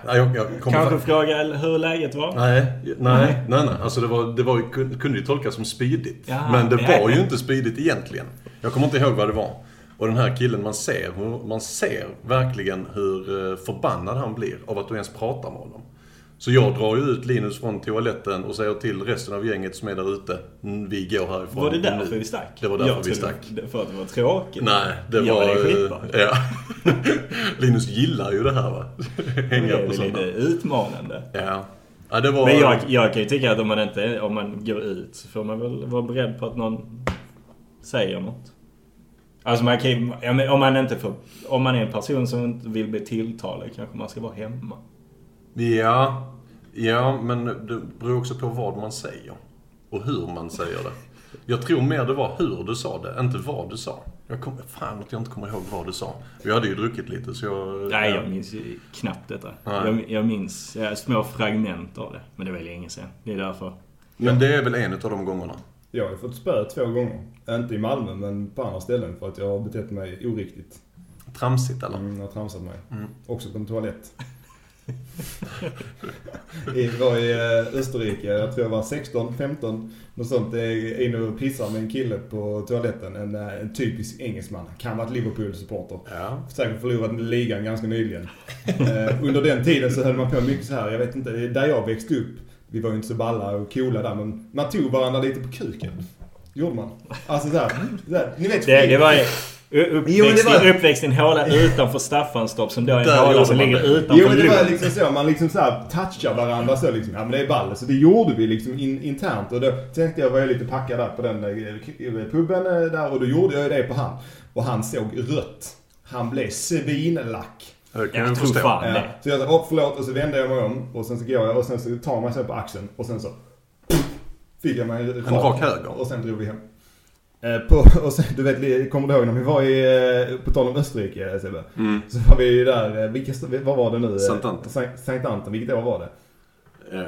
C: nej, jag, jag kommer
A: Kanske
C: fa-
A: fråga hur läget var?
C: Nej, nej,
A: Mm.
C: nej, nej. Alltså det, var, det var, ju- kun- kunde ju tolkas som spydigt.
A: Ja,
C: men det
A: nej.
C: var ju inte spydigt egentligen. Jag kommer inte ihåg vad det var. Och den här killen, man ser, hur- man ser verkligen hur eh, förbannad han blir av att du ens pratar med honom. Så jag drar ju ut Linus från toaletten och säger till resten av gänget som är där ute, "Mm, vi går härifrån
A: Var det
C: nu."
A: därför vi stack?
C: Det var därför
A: jag
C: vi
A: trodde
C: stack.
A: det- För att det var tråkigt?
C: Nej, det
A: Ja,
C: var...
A: det är
C: eh,
A: skitbra.
C: (laughs) ja. Linus gillar ju det här va. (laughs)
A: Det
C: Hänga
A: är
C: på
A: väl
C: sådana.
A: lite utmanande.
C: Ja. ja, det var...
A: Men jag, jag kan ju tycka att om man inte om man går ut så får man väl vara beredd på att någon säger något. Alltså man kan ju, ja, men om, man inte får, om man är en person som inte vill bli tilltalad kanske man ska vara hemma.
C: Ja, ja, men det beror också på vad man säger. Och hur man säger det. Jag tror mer det var hur du sa det, inte vad du sa. Jag kommer, fan att jag inte kommer ihåg vad du sa. Vi hade ju druckit lite så jag...
A: Nej, jag minns ju knappt detta.
C: Nej.
A: Jag, jag minns ja, små fragment av det. Men det var länge sedan. Det är därför.
C: Men det är väl en av de gångerna.
B: Jag har ju fått spö två gånger. Inte i Malmö men på andra ställen för att jag har betett mig oriktigt.
C: Tramsigt eller?
B: Mm, jag har tramsat mig. Också på en toalett. (laughs) I, var i eh, Österrike, jag tror jag var 16, 15, något sånt. Jag är inne och pissar med en kille på toaletten. En, eh, en typisk engelsman. Kan ha varit Liverpool-supporter.
C: Ja.
B: Säkert förlorat ligan
A: (laughs)
B: ganska nyligen. Eh, under den tiden så höll man på mycket så här. Jag vet inte, där jag växte upp. Vi var ju inte så balla och coola där men man tog varandra lite på kuken. Gjorde man. Alltså såhär. Så här, ni vet.
A: Det, det var ju u-
B: Jo, men
A: uppväxt,
B: det var-
A: i- uppväxt i en håla utanför Staffanstorp som då är
C: Där
A: en håla
C: gjorde
A: som
C: man
A: ligger
C: det.
A: utanför
B: Jo men det var
A: Lund.
B: liksom så. Man liksom såhär touchar varandra så liksom. Ja men det är ball. Så det gjorde vi liksom in, internt. Och då tänkte jag var jag lite packad där på den eh, puben eh, där. Och då gjorde jag ju det på han. Och han såg rött. Han blev svinlack.
C: Det kan
A: Jag
C: jag
A: tror
C: förstå.
A: fan
B: Ja.
A: det.
B: Eh, Så jag sa åh förlåt och så vände jag mig om och sen så går jag och sen så tar man sig på axeln och sen så fick jag mig
C: En rak höger.
B: och sen drog vi hem. Eh, På, och sen, du vet, kommer du ihåg när vi var i, eh, på tal om Österrike eh, Sebbe?
C: Mm.
B: Så var vi ju där, eh, vilka, st- vad var det nu? Eh,
C: Sankt Anton.
B: Sankt- Sankt Anton, vilket år var det?
C: Ja,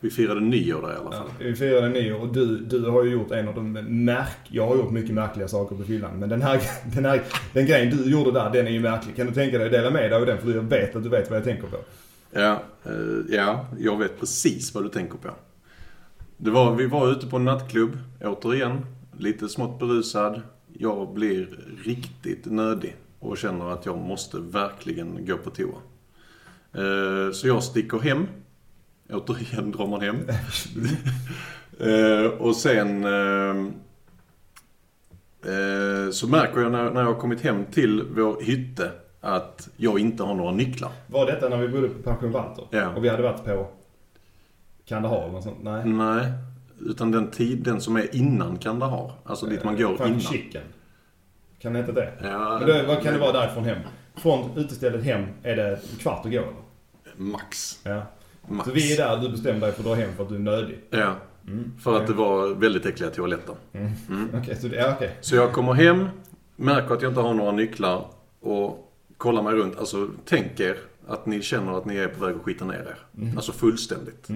C: vi firade nyår där i alla fall.
B: Vi firade nyår och du, du har ju gjort en av de märk... Jag har gjort mycket märkliga saker på fyllan. Men den här, (laughs) den här den grejen du gjorde där, den är ju märklig. Kan du tänka dig att dela med dig av den? För jag vet att du vet vad jag tänker på.
C: Ja, eh, ja, jag vet precis vad du tänker på. Det var, vi var ute på en nattklubb, återigen. Lite smått berusad. Jag blir riktigt nödig och känner att jag måste verkligen gå på toa. Eh, Så jag sticker hem. Återigen drar man hem. Eh, Och sen eh, eh, så märker jag när när jag har kommit hem till vår hytte att jag inte har några nycklar.
B: Var detta när vi bodde på Pension Walter?
C: Ja. Mm,
B: Och vi hade varit på Kandahar eller något sånt? Nej.
C: Nej, utan den tid, den som är innan Kandahar. Alltså dit man går
B: Eh, Fan,
C: innan.
B: Chicken. Kan det inte det?
C: Ja,
B: Men då, vad kan det vara därifrån hem? Från utestället hem är det en kvart att gå eller?
C: Max.
B: Ja.
C: Max.
B: Så vi är Mm. där, du bestämde dig för att dra hem för att du är nödig.
C: Ja, för att det var väldigt äckliga toaletter. Mm.
B: Okej, så det, ja, okej.
C: Så jag kommer hem, märker att jag inte har några nycklar och kollar mig runt. Alltså, tänk er att ni känner att ni är på väg att skita ner er. Alltså fullständigt.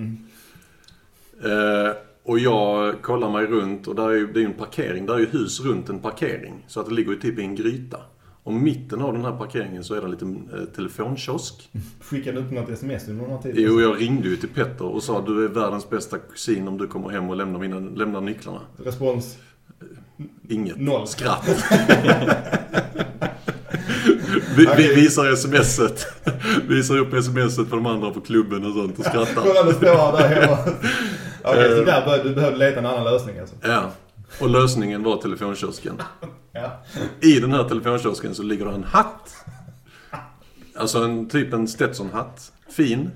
C: Eh, och jag kollar mig runt och där är ju, det är ju en parkering. Där är ju hus runt en parkering. Så att det ligger ju typ i en gryta. Och mitten av den här parkeringen så är det en liten eh, telefonkiosk.
B: Skickade du inte något sms under någon tid?
C: Jo, jag ringde ju till Petter och sa du är världens bästa kusin om du kommer hem och lämnar, mina, lämnar nycklarna. (laughs)
B: Respons?
C: Inget.
B: Noll.
C: Skratt.
B: (laughs)
C: vi, vi visar smset. Visar upp smset för de andra på klubben och sånt och skrattar.
B: Kolla, det står där
C: (laughs)
B: hemma. Okej,
C: Eh.
B: så där började, du behövde leta en annan lösning alltså?
C: Ja. Och lösningen var telefonkiosken.
B: Ja.
C: I den här telefonkiosken så ligger det en hatt. Alltså en typ en Stetson-hatt. Fin.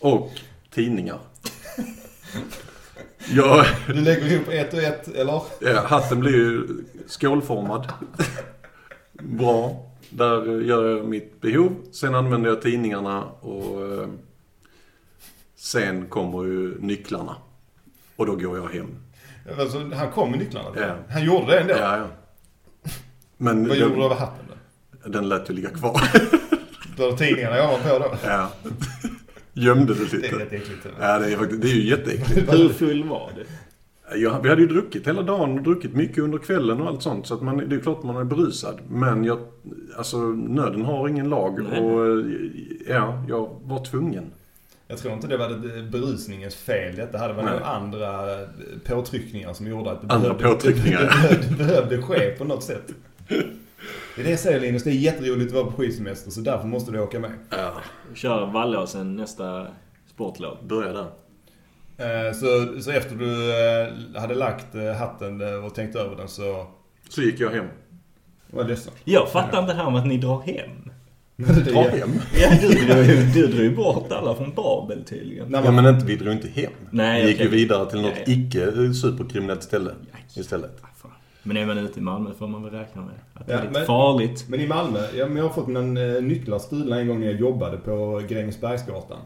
C: Och tidningar. Jag,
B: Du lägger ihop ett och ett, eller?
C: ja, Eh, hatten blir ju skålformad. Bra. Där eh, gör jag mitt behov. Sen använder jag tidningarna och eh, sen kommer ju nycklarna. Och då går jag hem.
B: Alltså, han kom med nycklarna?
C: Ja.
B: Han gjorde det ändå?
C: Ja, ja. Men
B: Vad gjorde du
C: den,
B: över hatten då?
C: den lät ju ligga kvar. (laughs)
B: Du hade tidningarna ovanpå då?
C: Ja. Gömde det
B: Det är rätt
C: lite.
B: äckligt. eller?
C: Ja, det är, faktiskt, det är ju jätteäckligt.
A: Hur full var du?
C: Jag, vi hade ju druckit hela dagen och druckit mycket under kvällen och allt sånt. Så att man, det är ju klart man är berusad. Men jag, alltså, nöden har ingen lag.
A: Nej.
C: Och eh, ja, jag var tvungen.
B: Jag tror inte det var det- berusningens fel detta. hade varit
C: Nej.
B: några andra påtryckningar som gjorde att det
C: Andra
B: (laughs)
C: påtryckningar.
B: det behövde, det behövde ske på något sätt. Det är det jag säger Linus, det är jätteroligt att vara på skidsemester så därför måste du åka med.
C: Ja,
A: Kör Vallåsen nästa sportlov.
C: börja där.
B: Eh, Så, så efter du eh, hade lagt eh, hatten eh, och tänkt över den så...
C: Så gick jag hem.
B: Var jag ledsen. (laughs)
A: Jag fattar inte det här med att ni drar hem.
C: Dra hem?
A: Ja, du drog ju du drog ju bort alla från Babel tydligen.
B: När
C: Ja,
B: man,
C: men inte, vi drog inte hem.
A: Nej,
C: vi gick
A: okej.
C: ju vidare till något
A: Ja, ja.
C: icke eh, superkriminellt ställe istället.
A: Ah, fan. Men är man ute i Malmö får man väl räkna med att det är
B: Ja,
A: lite
B: men-
A: farligt.
B: men i Malmö, ja, men jag har fått mina eh, nycklar stulna en gång när jag jobbade på Grängesbergsgatan.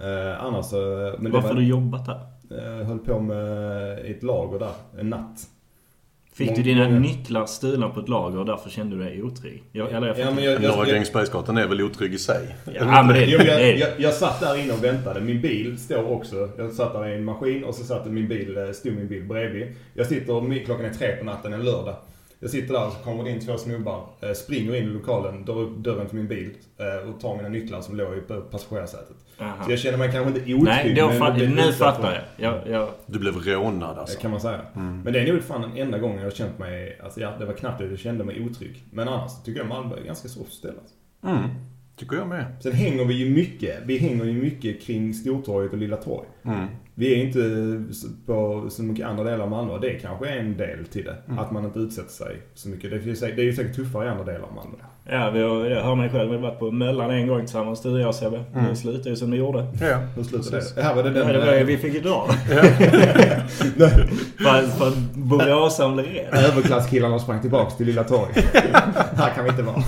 B: Eh, annars så... Men det
A: Varför
B: var,
A: har du jobbat här?
B: eh, höll på med ett lager där, en natt.
A: Fick du
B: Många
A: dina
B: gånger.
A: nycklar stulna på ett lager och därför kände du dig otrygg? Jag, eller jag
B: Ja, men
A: fattar.
B: jag,
C: Norra
B: jag, jag,
C: Grängesbergsgatan är väl otrygg i sig?
A: Ja, men det
B: Jo, men
A: det
B: jag,
A: är
B: jag, jag satt där inne och väntade. Min bil står också. Jag satt där i en maskin och så satt min bil, eh, stod min bil bredvid. Jag sitter, mi- klockan är tre på natten en lördag. Jag sitter där och så kommer det in två snubbar, eh, springer in i lokalen, drar upp dörren till min bil eh, och tar mina nycklar som låg i på passagerarsätet.
A: Aha.
B: Så jag känner mig kanske inte otrygg.
A: Nej, då
B: men
A: fatt,
B: blev
A: nu
B: utsatt
A: fattar
B: för-
A: jag. jag, jag
C: Du blev rånad
B: Det
C: alltså.
B: kan man säga.
A: Mm.
B: Men det är nog fan den enda gången jag har känt mig, alltså ja, det var knappt att jag kände mig otrygg. Men annars tycker jag Malmö är ganska soft ställe. Alltså.
C: Mm, tycker jag med.
B: Sen hänger vi ju mycket, vi hänger ju mycket kring Stortorget och Lilla Torg.
C: Mm.
B: Vi är inte så- på så mycket andra delar av Malmö. Det kanske är en del till det.
A: Mm.
B: Att man inte utsätter sig så mycket. Det är ju säkert, det är ju säkert tuffare i andra delar av Malmö.
A: Ja, vi har, jag hör mig själv. Vi har varit på Möllan en gång tillsammans, du och jag Sebbe. Det slutade ju som det gjorde.
C: Ja.
B: Hur slutade det? Här var det den...
A: Nej, det var ju, vi fick ju (laughs) dra.
B: (laughs)
A: för, att- för att Boråsan blev rädd.
B: Överklasskillarna sprang tillbaks till
A: (laughs)
B: Lilla Torg. här kan vi inte vara.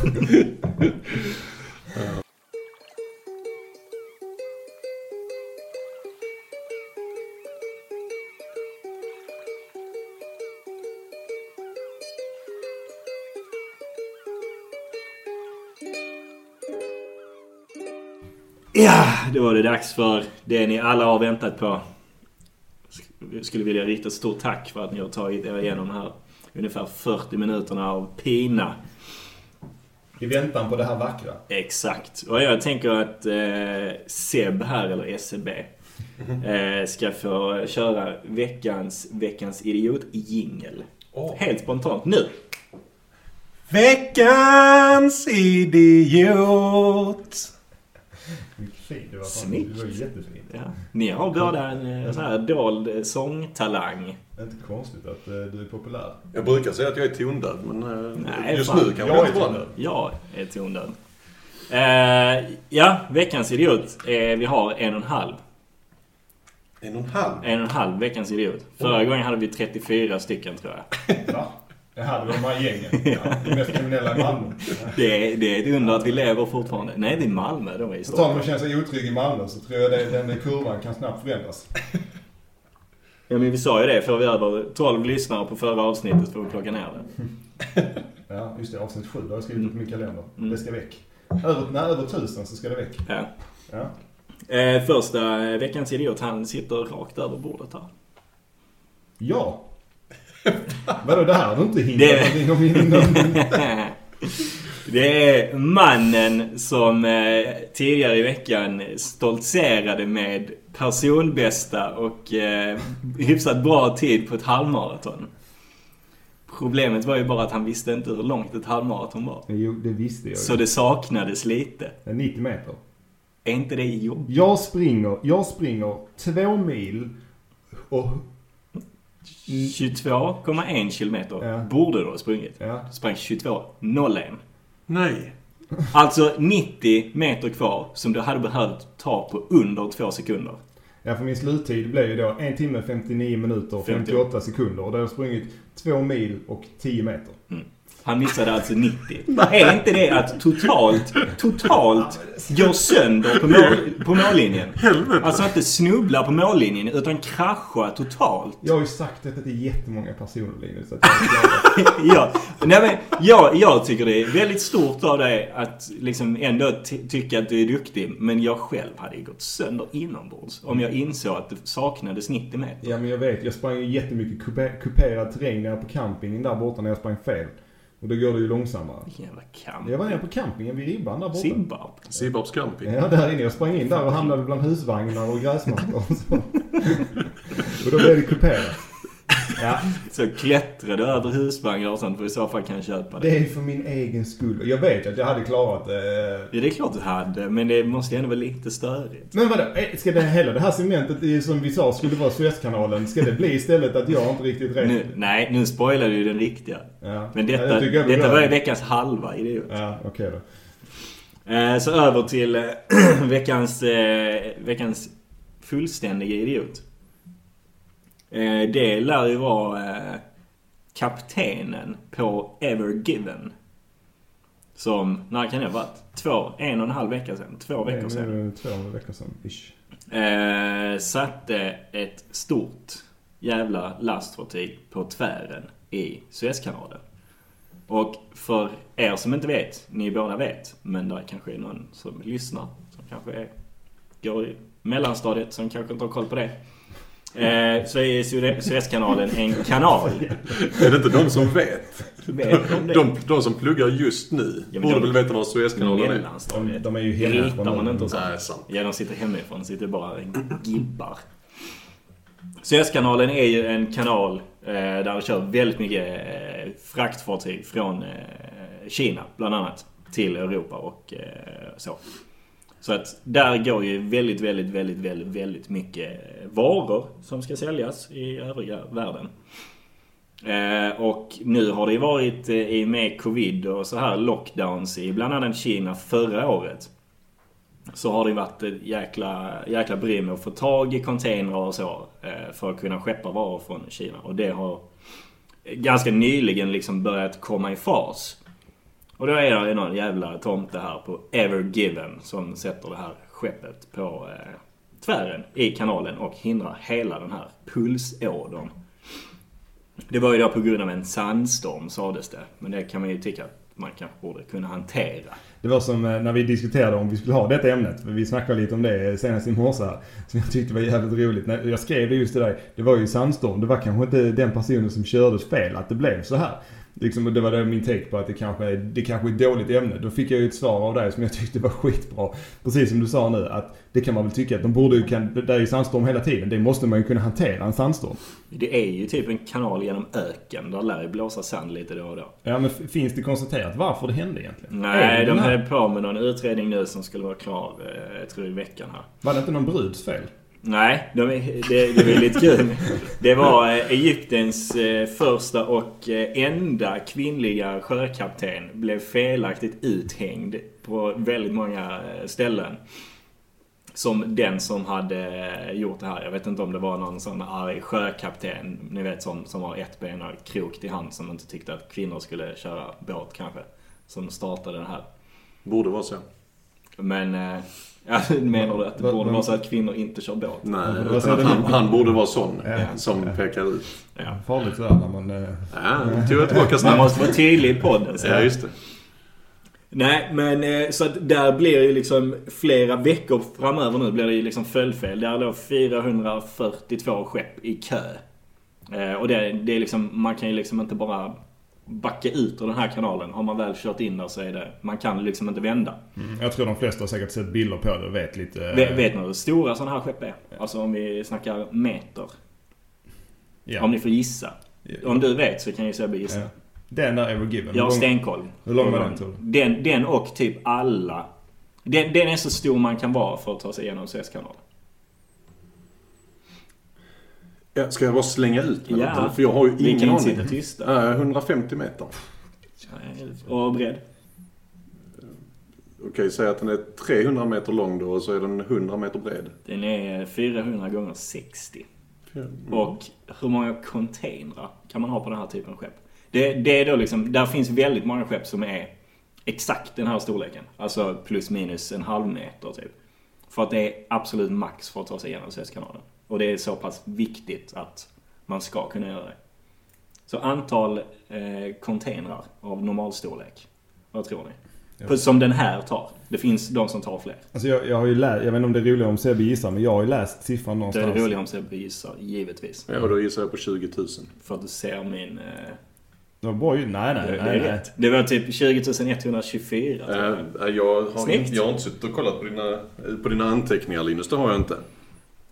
A: Ja, då var det dags för det ni alla har väntat på. Jag skulle vilja rikta ett stort tack för att ni har tagit er igenom de här ungefär 40 minuterna av pina.
B: I väntan på det här vackra.
A: Exakt. Och jag tänker att eh, Seb här, eller SEB, eh, ska få köra veckans, veckans idiot-jingel. Helt spontant nu.
C: Veckans idiot.
B: Vilken fin du var.
A: Snyggt.
B: Du var ju jättefin.
A: Ja. Ni har båda en eh, sån här dold eh, sångtalang.
B: Det är inte konstigt att eh, du är populär.
C: Jag brukar säga att jag är tondöv, men eh,
A: Nej,
C: just
A: fan.
C: nu kanske
B: Jag
C: jag inte
B: är typ-
C: var det.
A: Jag är tondöv. Eh, ja, veckans idiot. Eh, vi har en och en halv.
C: En och en halv.
A: En och en halv veckans idiot. Förra gången hade vi 34 stycken tror jag.
B: Va? Det här var de här gängen. Ja, de mest kriminella i Malmö.
A: Det är, det är ett under att vi lever fortfarande. Nej, det är Malmö. De är i
B: Så tar
A: Stockholm.
B: man känner sig otrygg i Malmö så tror jag det, den kurvan kan snabbt förändras.
A: Ja, men vi sa ju det. Får vi över 12 lyssnare på förra avsnittet får vi plocka ner det.
B: Ja, just det. Avsnitt 7 har jag skrivit upp i min kalender. Det ska väck. Över, när över tusen så ska det väck.
A: Ja.
B: Ja.
A: Eh, första eh, veckans idiot, han sitter rakt över bordet här. (laughs)
B: ja. Vadå, det här har du inte hindrat
A: Det-
B: någonting om innan?
A: Det är mannen som eh, tidigare i veckan stoltserade med personbästa och eh, hyfsat bra tid på ett halvmaraton. Problemet var ju bara att han visste inte hur långt ett halvmaraton var.
B: Jo, det visste jag ju.
A: Så det saknades lite.
B: Det är 90 meter.
A: Är inte det jobbigt?
B: Jag springer, jag springer två mil och...
A: 22,1 kilometer
B: Ja.
A: borde du ha sprungit.
B: Ja.
A: Du sprang 22,01.
C: Nej.
A: Alltså 90 meter kvar som du hade behövt ta på under två sekunder.
B: Ja, för min sluttid blev ju då en timme 59 minuter och 58 sekunder. Och då har jag sprungit två mil och 10 meter.
A: Han missade alltså 90.
B: (laughs)
A: Är inte det att totalt, totalt går sönder på, mål, på mållinjen?
C: Helvete.
A: Alltså inte snubbla på mållinjen utan krascha totalt.
B: Jag har ju sagt detta till jättemånga personer Linus. Att jag är glad.
A: (laughs) ja. Nej, men jag, jag tycker det är väldigt stort av dig att liksom ändå ty- tycka att du är duktig. Men jag själv hade ju gått sönder inombords om jag insåg att det saknades 90 meter.
B: (laughs) ja, men jag vet. Jag sprang ju jättemycket kupe- kuperad terräng nere på campingen där borta när jag sprang fel. Och då går det ju långsammare.
A: Vilken jävla kamp.
B: Jag var nere på campingen vid ribban där borta.
A: Zimbabwe.
C: Sibbarps camping.
B: Ja, där inne. Jag sprang in där och hamnade bland husvagnar och gräsmattor och (laughs) så. Och då blev det kuperat. Ja,
A: Så klättrade över husvagnar och sånt för i så fall kan jag köpa det.
B: det är för min egen skull. Jag vet att jag hade klarat eh,
A: Ja, det är klart du hade, men det måste ju ändå vara lite störigt.
B: Men vadå, eh, ska det hela det här segmentet i- som vi sa skulle vara Suezkanalen, ska det bli istället att jag inte riktigt rätt?
A: Nu, nej, nu spoilar du ju den riktiga.
B: Ja.
A: Men
B: Ja,
A: detta,
B: det tycker jag vi
A: detta
B: gör.
A: var ju veckans halva idiot.
B: Ja, okej då.
A: Eh, Så över till eh, (clears throat) veckans, eh, veckans fullständiga idiot. Eh, Det lär ju vara eh, kaptenen på Ever Given. Som, när kan det ha varit? Två, en och en halv vecka sedan. Två veckor
B: Det är
A: sedan.
B: Eh, nu Två veckor sedan, ish.
A: Eh, satte ett stort jävla lastfartyg på tvären i Suezkanalen. Och för er som inte vet, ni båda vet, men där kanske är någon som lyssnar som kanske är, går i mellanstadiet som kanske inte har koll på det. Eh, så är Suez- Suezkanalen en (laughs) kanal.
C: Är det inte de som vet?
A: Vet om det?
C: De, de som pluggar just nu
A: Ja, men
C: borde
A: de-
C: väl veta vad Suezkanalen är?
A: Mellanstadiet.
B: De- de är ju hemma
A: Det
B: från
A: hittar man
B: någon-
A: inte och sånt.
C: Nej, sant.
A: Ja, de sitter hemifrån. Sitter bara gibbar. Suezkanalen är ju en kanal eh, där det kör väldigt mycket eh, fraktfartyg från eh, Kina, bland annat, till Europa och eh, så. Så att där går ju väldigt, väldigt, väldigt, väldigt, väldigt mycket varor som ska säljas i övriga världen. Eh, och nu har det ju varit eh, i och med covid och så här lockdowns i bland annat Kina förra året. Så har det ju varit ett jäkla, jäkla bry med att få tag i containrar och så. eh, För att kunna skeppa varor från Kina. Och det har ganska nyligen liksom börjat komma i fas. Och då är det någon jävla tomte här på Ever Given som sätter det här skeppet på eh, tvären i kanalen och hindrar hela den här pulsådern. Det var ju då på grund av en sandstorm sades det. Men det kan man ju tycka att man kanske borde kunna hantera.
B: Det var som eh, när vi diskuterade om vi skulle ha detta ämnet. för Vi snackade lite om det senast i morse här. Som jag tyckte var jävligt roligt. När jag skrev det just till dig. Det var ju sandstorm. Det var kanske inte den personen som kördes fel att det blev så här. Liksom, och det var det min take på att det kanske, är, det kanske är ett dåligt ämne. Då fick jag ju ett svar av dig som jag tyckte var (laughs) skitbra. Precis som du sa nu att det kan man väl tycka att de borde ju kan, det är ju sandstorm hela tiden. Det måste man ju kunna hantera, en sandstorm.
A: Det är ju typ en kanal genom öken. Där lär ju blåsa sand lite då och då.
B: Ja men f- finns det konstaterat varför det hände egentligen? Är
A: Nej,
B: det den
A: de
B: här-
A: höll på med någon utredning nu som skulle vara klar, eh, jag tror i veckan här.
B: Var det inte någon bruds fel?
A: Nej, de, är- det, det var lite kul. Det var eh, Egyptens eh, första och eh, enda kvinnliga sjökapten. Blev felaktigt uthängd på väldigt många eh, ställen. Som den som hade eh, gjort det här. Jag vet inte om det var någon sån arg sjökapten. Ni vet sån som har ett ben och krokt i hand. Som inte tyckte att kvinnor skulle köra båt kanske. Som startade det här.
C: Borde vara så.
A: Men... eh, (laughs) Ja, menar du att det
B: Vad-
A: borde
B: vad-
A: vara så att kvinnor inte kör båt?
C: Nej,
B: Vad
C: utan
B: säger
C: att
B: du?
C: han, han borde vara sån
B: Ja.
C: som pekar ut.
A: Ja.
B: Farligt sådär när man... eh,
C: Ja, nu tog jag tillbaka
A: Man
C: snabbt.
A: måste vara tydlig i podden. Så.
C: Ja, just det.
A: Nej, men eh, så att där blir ju liksom flera veckor framöver nu blir det ju liksom följdfel. Där låg 442 skepp i kö. Eh, Och det, det är liksom, man kan ju liksom inte bara backa ut ur den här kanalen. Har man väl kört in där så är det... Man kan liksom inte vända.
B: Mm, jag tror de flesta har säkert sett bilder på det och vet lite... eh,
A: Vet, vet ni hur stora sådana här skepp är? Alltså om vi snackar meter.
B: ja.
A: Om ni får gissa.
B: Ja.
A: Om du vet så kan ju Sebbe gissa.
B: Ja. Den där Ever Given.
A: Jag har
B: Hur lång-
A: stenkoll. Mm.
B: hur lång var den, tror
A: Den, den och typ alla. Den, den är så stor man kan vara för att ta sig igenom Suezkanalen.
C: Ja, Ska jag bara slänga ut mig
A: Ja.
C: lite? För jag har ju
A: Vi kan
C: ingen
A: inte
C: aning.
A: sitta tysta.
C: Nej, 150 meter.
A: Och bred.
C: Okej, säg att den är 300 meter lång då och så är den 100 meter bred.
A: Den är 400 gånger 60.
C: Mm.
A: Och hur många containrar kan man ha på den här typen av skepp? Det, det är då liksom, där finns väldigt många skepp som är exakt den här storleken. Alltså plus minus en halv meter typ. För att det är absolut max för att ta sig igenom Suezkanalen. Och det är så pass viktigt att man ska kunna göra det. Så antal eh, containrar av normal storlek. Vad tror ni?
B: Ja.
A: På- Som den här tar. Det finns de som tar fler.
B: Alltså jag, jag har ju läst, jag vet inte om det är roligare om Sebbe gissar, men jag har ju läst siffran
A: Det
B: någonstans.
A: är roligt om Sebbe gissar, givetvis.
C: Ja, då gissar jag på 20 000.
A: För att du ser min... Eh,
B: Det var bra ju. Nej, nej,
A: Det, det
B: nej.
A: är
B: nej.
A: rätt. Det var typ 20 124. tror jag.
C: Äh, jag, har
A: Snyggt.
C: inte, jag har inte suttit och kollat på dina, på dina anteckningar Linus, det har jag inte.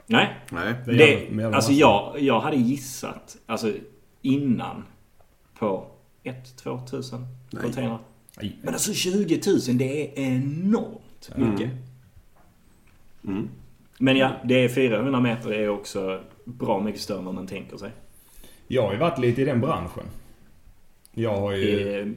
A: Nej.
C: Nej.
B: Det är jävla-
A: Det,
B: jävla
A: alltså
B: massa.
A: jag, jag hade gissat alltså, innan på 1-2 tusen
C: Nej.
A: containrar.
B: Nej.
A: Men alltså 20 000 det är enormt mycket.
C: Mm.
A: Men ja, det är 400 meter. Det är också bra mycket större än vad man tänker sig.
B: Jag har ju varit lite i den branschen. Jag har ju...
A: I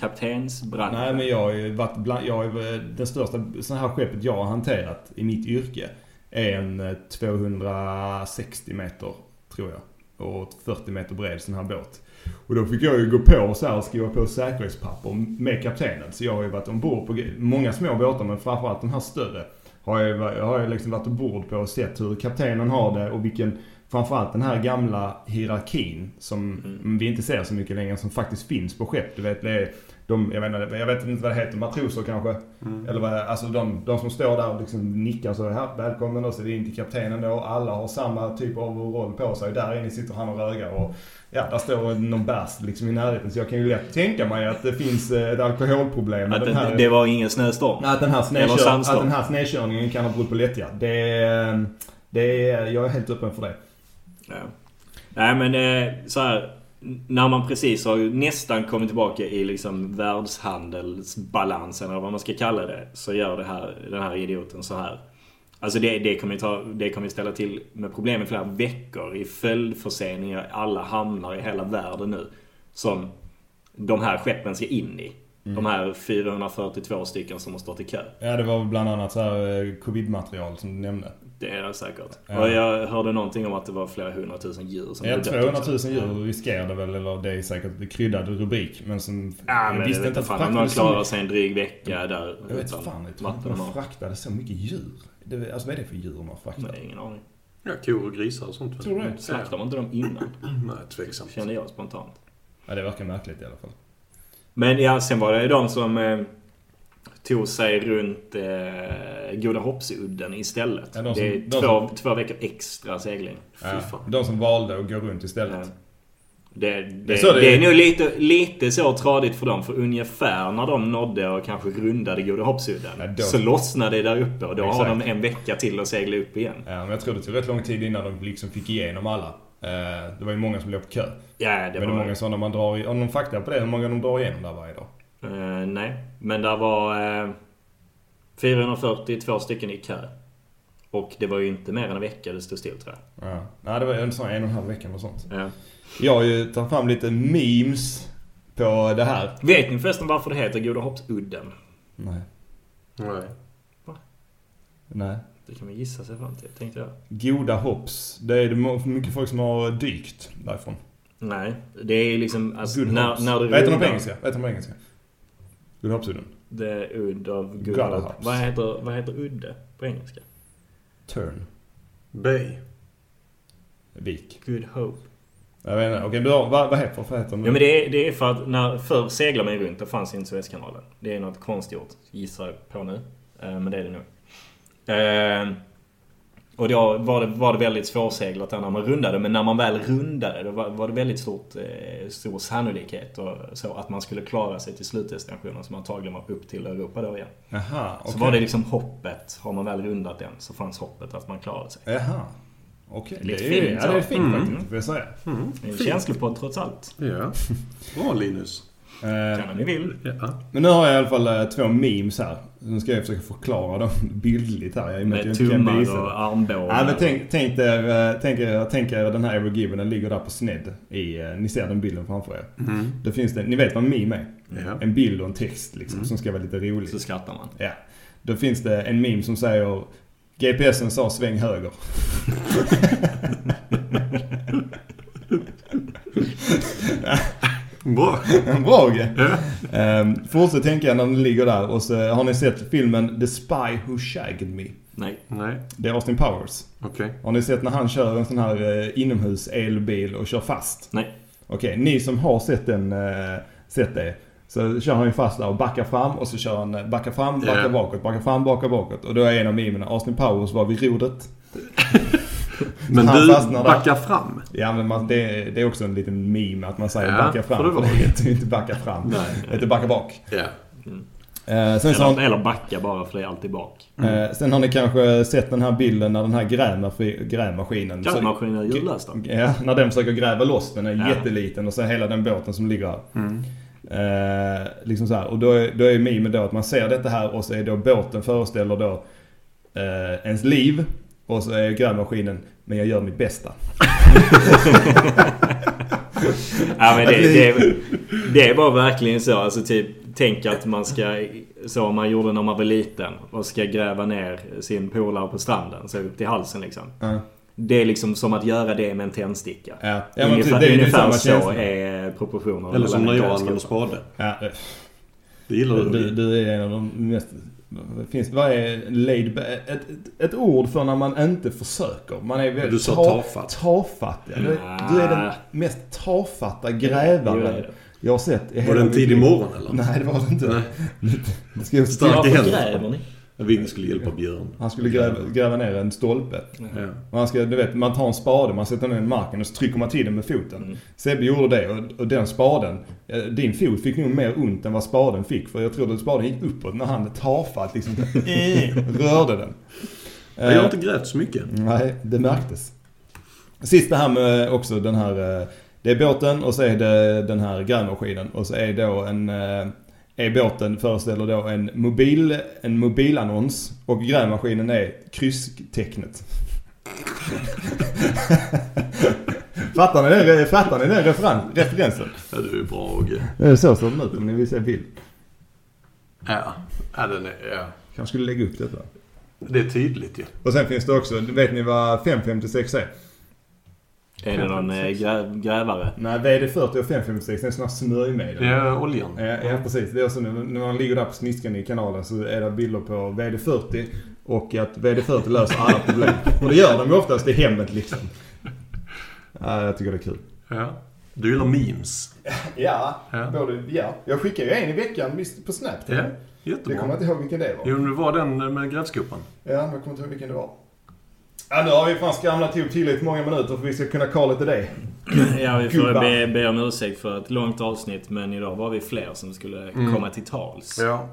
A: kaptensbranschen.
B: Nej men jag har ju varit bland, jag har ju, det största sån här skeppet jag har hanterat i mitt yrke är en eh, 260 meter tror jag. Och 40 meter bred sån här båt. Och då fick jag ju gå på så här och skriva på säkerhetspapper med kaptenen. Så jag har ju varit ombord på gre- många små båtar men framförallt de här större. Har jag, va- jag har ju liksom varit ombord på och sett hur kaptenen har det och vilken Framförallt den här gamla hierarkin som
A: Mm.
B: vi inte ser så mycket längre som faktiskt finns på skepp. Du vet, det är de, jag, vet, inte- jag vet inte vad det heter, matroser kanske?
A: Mm.
B: Eller vad, alltså de, de som står där och liksom nickar så här, välkommen och så är det in till kaptenen då. Alla har samma typ av roll på sig. Där inne sitter han och rögar och ja, där står någon bärs liksom i närheten. Så jag kan ju lätt tänka mig att det finns eh, ett alkoholproblem. med
A: Att
B: den här,
A: det, det var ingen snöstorm.
B: att den här,
A: Eller
B: snökör,
A: sandstorm.
B: att den här snedkörningen kan ha berott på lättja. Det, är- det, är- jag är helt öppen för det.
A: Ja. Nej men eh, så här. n- När man precis har ju nästan kommit tillbaka i liksom världshandelsbalansen eller vad man ska kalla det. Så gör det här, den här idioten så här. Alltså det, det, kommer ju ta, det kommer ju ställa till med problem i flera veckor i följdförseningar i alla hamnar i hela världen nu. Som de här skeppen ska in i.
B: Mm.
A: De här 442 stycken som har stått i kö.
B: Ja, det var väl bland annat så här eh, covid-material som du nämnde.
A: Det är det säkert.
B: Ja.
A: Och jag hörde någonting om att det var flera hundratusen djur som
B: Ja,
A: hade dött
B: 200 000
A: också. Ja.
B: djur riskerade väl, eller det är säkert en kryddad rubrik, men som...
A: Ja, men det vet
B: att
A: fan om
B: fraktade
A: man
B: så
A: klarar
B: mycket-
A: sig en dryg vecka där
B: Jag vet
A: utan
B: fan, jag tror inte
A: vatten och
B: man
A: mat.
B: fraktade så mycket djur. Det, alltså vad är det för djur man fraktar?
A: Nej, ingen aning.
C: Ja, kor och grisar och sånt.
B: Tror du det?
A: Slaktar man inte dem innan?
C: Ja. Nej, tveksamt.
A: Kände jag spontant.
B: Ja, det verkar märkligt i alla fall.
A: Men ja, sen var det ju de som eh, tog sig runt eh, Goda Hoppsudden istället.
B: Ja, de som-
A: det är
B: de
A: två, två veckor extra segling.
B: Ja,
C: Fy fan.
B: de som valde att gå runt istället.
A: Ja. Det, det,
B: Det är
A: det,
B: så det är.
A: är nog lite, lite så tradigt för dem, för ungefär när de nådde och kanske rundade Goda Hoppsudden
B: Ja, då-
A: så lossnade det där uppe och då har de
B: Exakt.
A: en vecka till att segla upp igen.
B: Ja, men jag tror det tog rätt lång tid innan de liksom fick igenom alla. Eh, Det var ju många som låg på kö.
A: Ja, det
B: men det är
A: var
B: många sådana man drar i- Har någon fakta på det? Hur många de drar igenom där varje dag?
A: Eh, nej, men där var eh, 442 stycken i kö. Och det var ju inte mer än en vecka det stod still tror
B: Ja. Nej, det var en sån en och en halv vecka eller sånt.
A: jag.
B: Jag har ju tagit fram lite memes på det här.
A: Vet ni förresten varför det heter Goda Hoppsudden?
B: Nej.
C: Nej.
B: Nej.
A: Det kan man gissa sig fram till, tänkte jag.
B: Goda hopps. Det är det må- mycket folk som har dykt därifrån.
A: Nej, det är liksom... Alltså,
B: Good
A: när,
B: hopps.
A: när du
B: Vad heter de på
A: rullar-
B: engelska? Vad heter de på engelska? Good hoppsudden.
A: The Ud of Good
B: Goda
A: hopp.
B: hopps.
A: Vad heter, vad heter udde på engelska?
B: Turn.
C: Bay.
B: Vik.
A: Good Hope.
B: Jag vet inte. Okej, du har, vad, vad heter, vad heter de?
A: Ja men det är, det är för att när, förr seglade man ju runt, det fanns inte Suezkanalen. Det är något konstgjort, gissar jag på nu. Eh, Men det är det nog. Eh, Och då var det, var det väldigt svårseglat där när man rundade. Men när man väl rundade då var, var det väldigt stort, eh, stor sannolikhet och så att man skulle klara sig till slutdestinationen som antagligen var upp till Europa då igen.
B: Aha, okej.
A: Så var det liksom hoppet. Har man väl rundat den så fanns hoppet att man klarade sig.
B: Jaha. Okej.
A: Det är
B: Det,
A: lite
B: är ju-
A: fint,
B: ja, det är
A: ja.
B: fint
A: Mm.
B: faktiskt, får jag säga.
A: Det är en känslopodd trots allt.
C: Ja. Bra Linus.
B: Eh,
A: Kan ni vill.
C: Ja.
B: Men nu har jag i alla fall eh, två memes här. Nu ska jag försöka förklara dem (laughs) bildligt här. Jag, i och med att
A: Med
B: jag inte kan
A: tummar
B: visa det.
A: och armbågar.
B: Ja, men tänk, tänk, er, eh, tänk, er, tänk er den här Ever Given, den ligger där på sned. I, eh, ni ser den bilden framför er. Då finns det, ni vet vad en meme är?
C: Mm. Ja.
B: En bild och en text liksom, som ska vara lite rolig.
A: Så skrattar man.
B: Ja. Då finns det en meme som säger GPSen sa sväng höger. (laughs)
C: Bra.
B: Bra Åge! Ehm, Fortsätt tänka när ni ligger där och så har ni sett filmen The Spy Who Shagged Me.
A: Nej.
C: Nej,
B: Det är Austin Powers.
C: okej.
B: Har ni sett när han kör en sån här eh, inomhus elbil och kör fast?
A: Nej.
B: Okej, ni som har sett den, eh, sett det. Så kör han ju fast där och backar fram och så kör han eh, backar fram, backar
C: Ja.
B: bakåt, backar fram, backar bakåt. Och då är en av memerna Austin Powers var vid rodret.
C: Men
B: Han
C: du,
B: fastnar där.
C: backa fram.
B: Ja men man, det, det är också en liten meme att man säger
C: Ja,
B: backa fram.
C: får det vara.
B: (laughs) Det heter ju inte backa fram.
C: Nej.
B: Det heter backa bak.
C: Ja.
B: Eh, sen, så har,
A: Eller, eller backa bara för det är alltid bak.
B: eh, sen har ni kanske sett den här bilden när den här grävmaskin- grävmaskinen... så-
A: Grävmaskinen är ljudlös då.
B: Ja, när den försöker gräva loss den är
A: Ja. Mm.
B: jätteliten och så hela den båten som ligger här. Eh, liksom så här. Och då är, då är mimen då att man ser detta här och så är då båten föreställer då eh, ens liv. Och så är grävmaskinen, men jag gör mitt bästa.
A: Ja,
B: Alltså-
A: men det, det, det var verkligen så. Alltså, typ, tänk att man ska, så man gjorde när man var liten, och ska gräva ner sin polare på stranden, så upp till halsen liksom.
B: Ja.
A: Det är liksom som att göra det med en tändsticka.
B: Ja, ja, men
A: ungefär
B: det är ju
A: ungefär
B: samma
A: så
B: känsla.
A: är proportionerna.
C: Eller som när
A: mellan
C: jag
A: en
C: använder
A: klädskopa.
C: spade.
B: Ja, eh,
C: Det gillar du.
B: du, du är en av de mest... Finns, vad är laid ba- ett, ett, ett ord för när man inte försöker? Man är väldigt
C: Du sa
B: ta-
C: tafatt.
B: tafatt, ja. Du, är- du är den mest tafatta
A: Jo, det
B: grävaren
A: är det.
B: jag har sett. i
C: Var
B: hela
C: det en
B: mitt
C: tidig
B: liv.
C: morgon eller?
B: Nej, det var det inte. Det ska jag inte
C: Stark.
B: säga.
A: Varför
C: händer.
A: gräver ni?
C: Vinny skulle hjälpa Björn.
B: Han skulle gräva, gräva ner en stolpe.
C: Ja.
B: Och han ska, du vet, man tar en spade, man sätter ner den i marken och så trycker man till den med foten.
C: Mm.
B: Sebbe gjorde det och, och den spaden, eh, din fot fick nog mer ont än vad spaden fick. För jag trodde att spaden gick uppåt när han tafatt liksom (laughs) rörde den.
C: Men Jag har
B: Eh,
C: inte grävt så mycket.
B: Nej, det märktes. Sist det här med också den här... eh, Det är båten och så är det den här grävmaskinen och så är då en... eh, Är båten föreställer då en, mobil, en mobilannons och grävmaskinen är krysstecknet. fattar, ni den, fattar ni den referen, referensen?
C: Ja, du är bra Åge.
B: Det är så ser den ut om ni vill se bild.
C: Ja. Ja, den är, ja.
B: Kanske skulle lägga upp detta.
C: Det är tydligt ju.
B: Och sen finns det också, vet ni vad 556 är?
A: (laughs) Är det någon eh, grä, grävare?
B: Nej, VD40 och 556 det är sådana smörjmedel.
C: Det är oljan.
B: Eh, Ja, ja precis. Det är också när när man ligger där på sniskan i kanalen så är det bilder på VD40 och att VD40 löser alla problem. Och det gör de ju oftast i hemmet liksom. Ja, jag tycker det är kul.
C: Ja. Du gillar memes.
B: Ja,
C: Ja.
B: både, ja. Jag skickar ju en i veckan visst, på Snap.
C: Ja,
B: Jag kommer
C: jättebra.
B: inte ihåg vilken det var.
C: Jo, men det var den med grävskopan.
B: Ja, jag kommer inte ihåg vilken det var. Ja, nu har vi fan skramlat ihop tillräckligt många minuter för att vi ska kunna kalla lite det.
A: Ja, vi får
B: Gubbar.
A: be, be om ursäkt för ett långt avsnitt, men idag var vi fler som skulle
B: Mm.
A: komma till tals.
C: Ja.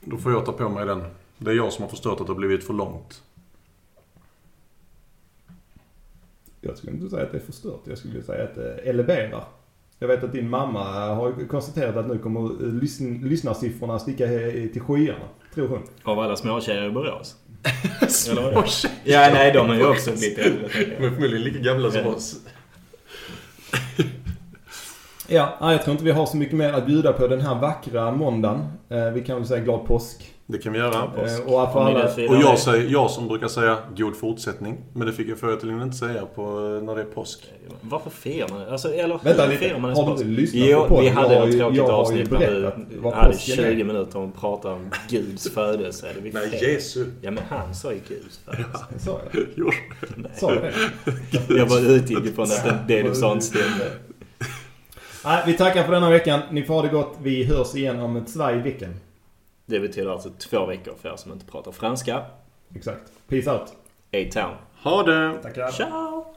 C: Då får jag ta på mig den. Det är jag som har förstört att det har blivit för långt.
B: Jag skulle inte säga att det är förstört. Jag skulle säga att det eleverar. Jag vet att din mamma har ju konstaterat att nu kommer lysn- lyssnarsiffrorna sticka he- till skyarna. Tror hon.
A: Av alla småtjejer i Borås. Eller
C: (laughs)
A: vad?
C: Småtjejer!
A: Ja, nej, de har ju också blivit äldre.
C: De är förmodligen lika gamla som oss.
B: Ja, nej, jag tror inte vi har så mycket mer att bjuda på den här vackra måndagen. Eh, Vi kan väl säga glad påsk.
C: Det kan vi göra.
B: Eh, Och för
A: Om ni
B: alla...
A: nu firar
C: Och
A: det.
C: jag, säger, jag som brukar säga god fortsättning. Men det fick jag förr tydligen inte säga på, eh, när det är påsk.
A: Varför firar man alltså, eller
B: Vänta
A: hur
B: lite,
A: firar man
B: har du inte lyssnat på
A: Jo,
B: podden?
A: vi
B: Jag
A: hade
B: har
A: ett
B: ju-
A: tråkigt
B: jag har ju
A: avsnitt när
B: berättat
A: vi
B: vad
A: hade
B: påsken är.
A: 20 minuter om att prata om Guds födelse. Det är vi
C: Nej,
A: fel.
C: Jesu.
A: Ja, men han sa ju Guds födelse.
B: Sa jag?
C: (laughs) Jo.
B: Sa jag det?
A: Jag bara utgick ifrån att det- det du sa inte stämde.
B: Nej, vi tackar för denna veckan. Ni får ha det gott. Vi hörs igen om ett svaj i veckan.
A: Det betyder alltså två veckor för er som inte pratar franska.
B: Exakt. Peace out.
C: A-Town.
E: Ha det!
A: Tackar.
C: Ciao!